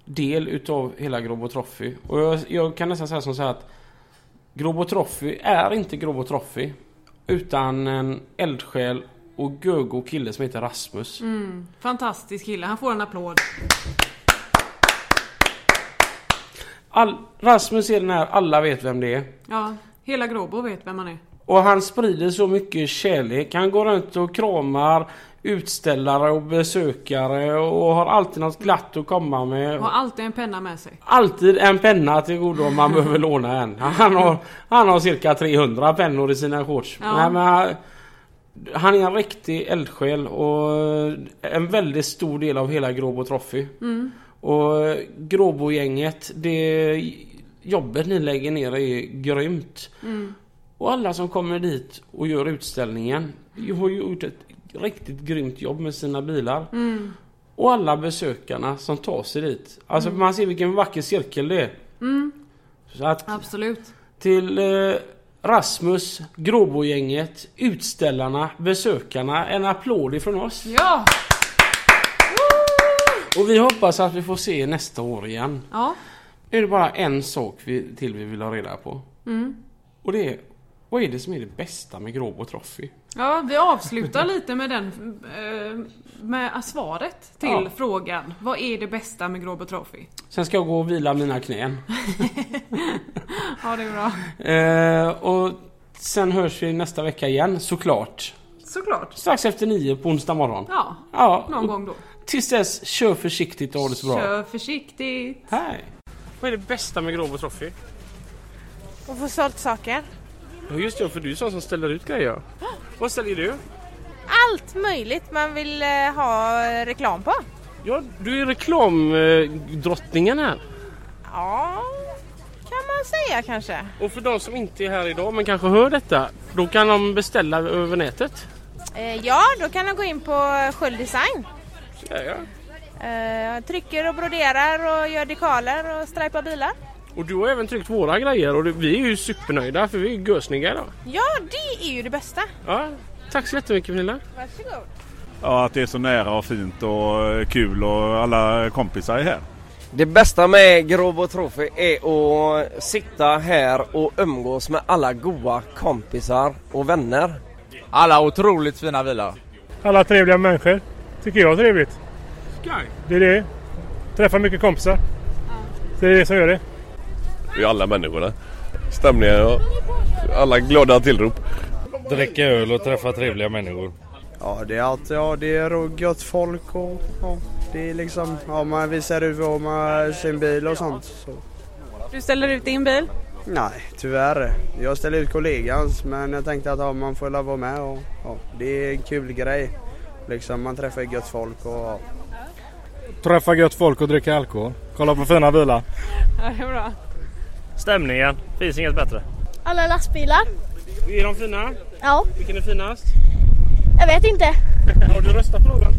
Speaker 3: del utav hela Grobo Trophy. Och jag, jag kan nästan säga som så här att Grobo Trophy är inte Grobo Trophy. Utan en eldsjäl och gögo kille som heter Rasmus.
Speaker 1: Mm. Fantastisk kille. Han får en applåd.
Speaker 3: All, Rasmus är den här, alla vet vem det är.
Speaker 1: Ja, hela Gråbo vet vem han är.
Speaker 3: Och han sprider så mycket kärlek. Han går runt och kramar utställare och besökare och har alltid något glatt att komma med.
Speaker 1: Har alltid en penna med sig.
Speaker 3: Alltid en penna till godo om man behöver låna en. Han har, han har cirka 300 pennor i sina shorts.
Speaker 1: Ja.
Speaker 3: Nej, men han, han är en riktig eldsjäl och en väldigt stor del av hela Gråbo Trophy.
Speaker 1: Mm.
Speaker 3: Och Gråbogänget, det jobbet ni lägger ner är grymt.
Speaker 1: Mm.
Speaker 3: Och alla som kommer dit och gör utställningen har ju gjort ett riktigt grymt jobb med sina bilar.
Speaker 1: Mm.
Speaker 3: Och alla besökarna som tar sig dit. Alltså man ser vilken vacker cirkel det är.
Speaker 1: Mm.
Speaker 3: Så att
Speaker 1: Absolut.
Speaker 3: till eh, Rasmus, Gråbogänget, utställarna, besökarna en applåd ifrån oss.
Speaker 1: Ja!
Speaker 3: Och vi hoppas att vi får se nästa år igen.
Speaker 1: Ja.
Speaker 3: Nu är det bara en sak vi, till vi vill ha reda på.
Speaker 1: Mm.
Speaker 3: Och det är, vad är det som är det bästa med Gråbo Trophy?
Speaker 1: Ja, vi avslutar lite med den eh, med svaret till
Speaker 3: Ja.
Speaker 1: frågan. Vad är det bästa med Gråbo Trophy?
Speaker 3: Sen ska jag gå och vila mina knän.
Speaker 1: Ja, det är bra.
Speaker 3: Eh, och Sen hörs vi nästa vecka igen såklart.
Speaker 19: Såklart.
Speaker 3: Strax efter nio på onsdag morgon.
Speaker 19: Ja,
Speaker 3: Ja.
Speaker 19: någon gång då.
Speaker 3: Tills dess, kör försiktigt och ha det så bra.
Speaker 19: Kör försiktigt.
Speaker 3: Hej. Vad är det bästa med Grobo Trophy?
Speaker 1: Och få sålt saker.
Speaker 3: Ja just det, för du är sån som ställer ut grejer. Vad säljer du?
Speaker 1: Allt möjligt man vill eh, ha reklam på.
Speaker 3: Ja, du är reklamdrottningen här.
Speaker 1: Ja, kan man säga kanske.
Speaker 3: Och för de som inte är här idag men kanske hör detta, då kan de beställa över nätet.
Speaker 1: Eh, Ja, då kan de gå in på Sköld Design. Eh, Trycker och broderar och gör dekaler och strajpar bilar.
Speaker 3: Och du har även tryckt våra grejer och det- vi är ju supernöjda för vi är gösniga idag.
Speaker 1: Ja, det är ju det bästa.
Speaker 3: Ja, tack så jättemycket Pernilla.
Speaker 1: Varsågod.
Speaker 20: Ja, att det är så nära och fint och eh, kul och alla kompisar är här.
Speaker 9: Det bästa med Grobo Trophy är att sitta här och umgås med alla goa kompisar och vänner. Alla otroligt fina bilar.
Speaker 6: Alla trevliga människor. Tycker jag är trevligt. Det är det. Träffar mycket kompisar. Det är det som gör det.
Speaker 21: Det är alla människorna. Stämningen och alla glada tillrop. Dricka öl och träffa trevliga människor.
Speaker 22: Ja, det är alltid, ja, det är gött folk och ja, det är liksom, ja, man visar ut vad man, sin bil och sånt. Så.
Speaker 19: Du ställer ut din bil.
Speaker 22: Nej, tyvärr. Jag ställer ut kollegans men jag tänkte att ja, man får väl vara med och ja, det är en kul grej. Liksom, man träffar gött folk och ja.
Speaker 8: Träffa gött folk och dricka alkohol. Kolla på fina bilar.
Speaker 19: Ja, det är bra.
Speaker 8: Stämningen. Finns inget bättre.
Speaker 7: Alla lastbilar?
Speaker 3: Är de fina?
Speaker 7: Ja.
Speaker 3: Vilken är finast?
Speaker 7: Jag vet inte.
Speaker 3: Har du röstat på någon?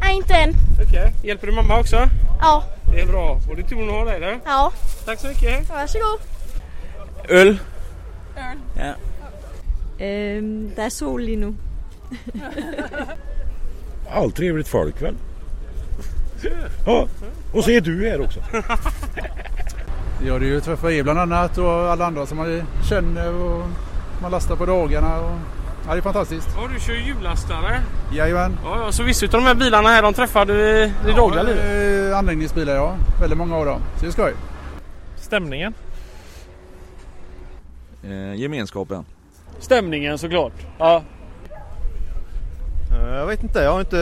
Speaker 7: Nej, inte än.
Speaker 3: Okej. Hjälper du mamma också?
Speaker 7: Ja.
Speaker 3: Det är bra. Och det är tur hon har dig där.
Speaker 7: Ja.
Speaker 3: Tack så mycket.
Speaker 7: Varsågod.
Speaker 9: Öl.
Speaker 21: Ja.
Speaker 23: Ehm, det är sol lige nu.
Speaker 21: Allt trevligt folk väl? Ja, och så är du här också.
Speaker 8: Ja, det är ju att träffa er bland annat och alla andra som man känner och man lastar på dagarna. Och... Ja, det är fantastiskt.
Speaker 3: Ja, du kör hjullastare.
Speaker 8: Jajamän.
Speaker 3: Ja, ja, så vissa av de här bilarna här de träffade i i det dagliga livet?
Speaker 8: Eh, Anläggningsbilar ja, väldigt många av dem. Så det är skoj.
Speaker 24: Stämningen.
Speaker 25: gemenskapen.
Speaker 24: Stämningen såklart. Ja.
Speaker 4: Eh, Jag vet inte, jag har inte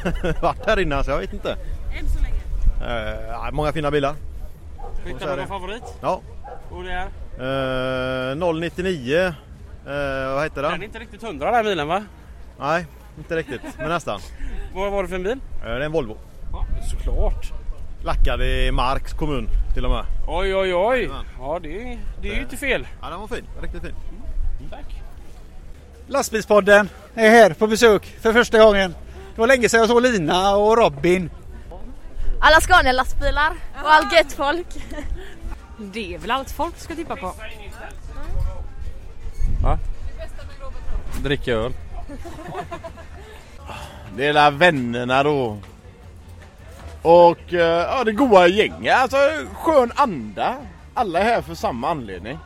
Speaker 4: varit här innan så jag vet inte.
Speaker 3: Än så länge.
Speaker 4: Eh, många fina bilar.
Speaker 3: Hittar du någon favorit?
Speaker 4: Ja.
Speaker 3: Och det är?
Speaker 4: Eh, 099, eh, vad heter den?
Speaker 3: Den är inte riktigt hundra den här bilen va?
Speaker 4: Nej, inte riktigt, men nästan.
Speaker 3: Vad var det för en bil?
Speaker 4: Eh, det är en Volvo.
Speaker 3: Ja, såklart.
Speaker 4: Lackad i Marks kommun till och med.
Speaker 3: Oj, oj, oj. Ja, det, det är ju inte fel.
Speaker 4: Ja, den var fin. Riktigt fin.
Speaker 3: Tack.
Speaker 18: Lastbilspodden är här på besök för första gången. Det var länge sedan jag såg Lina och Robin.
Speaker 7: Alla Scania-lastbilar och allt gött folk.
Speaker 19: Det är väl allt folk ska typ tippa på.
Speaker 25: Va?
Speaker 21: Dricka öl. Det är där vännerna då. Och eh, ja, det goa gänget. Alltså skön anda. Alla är här för samma anledning.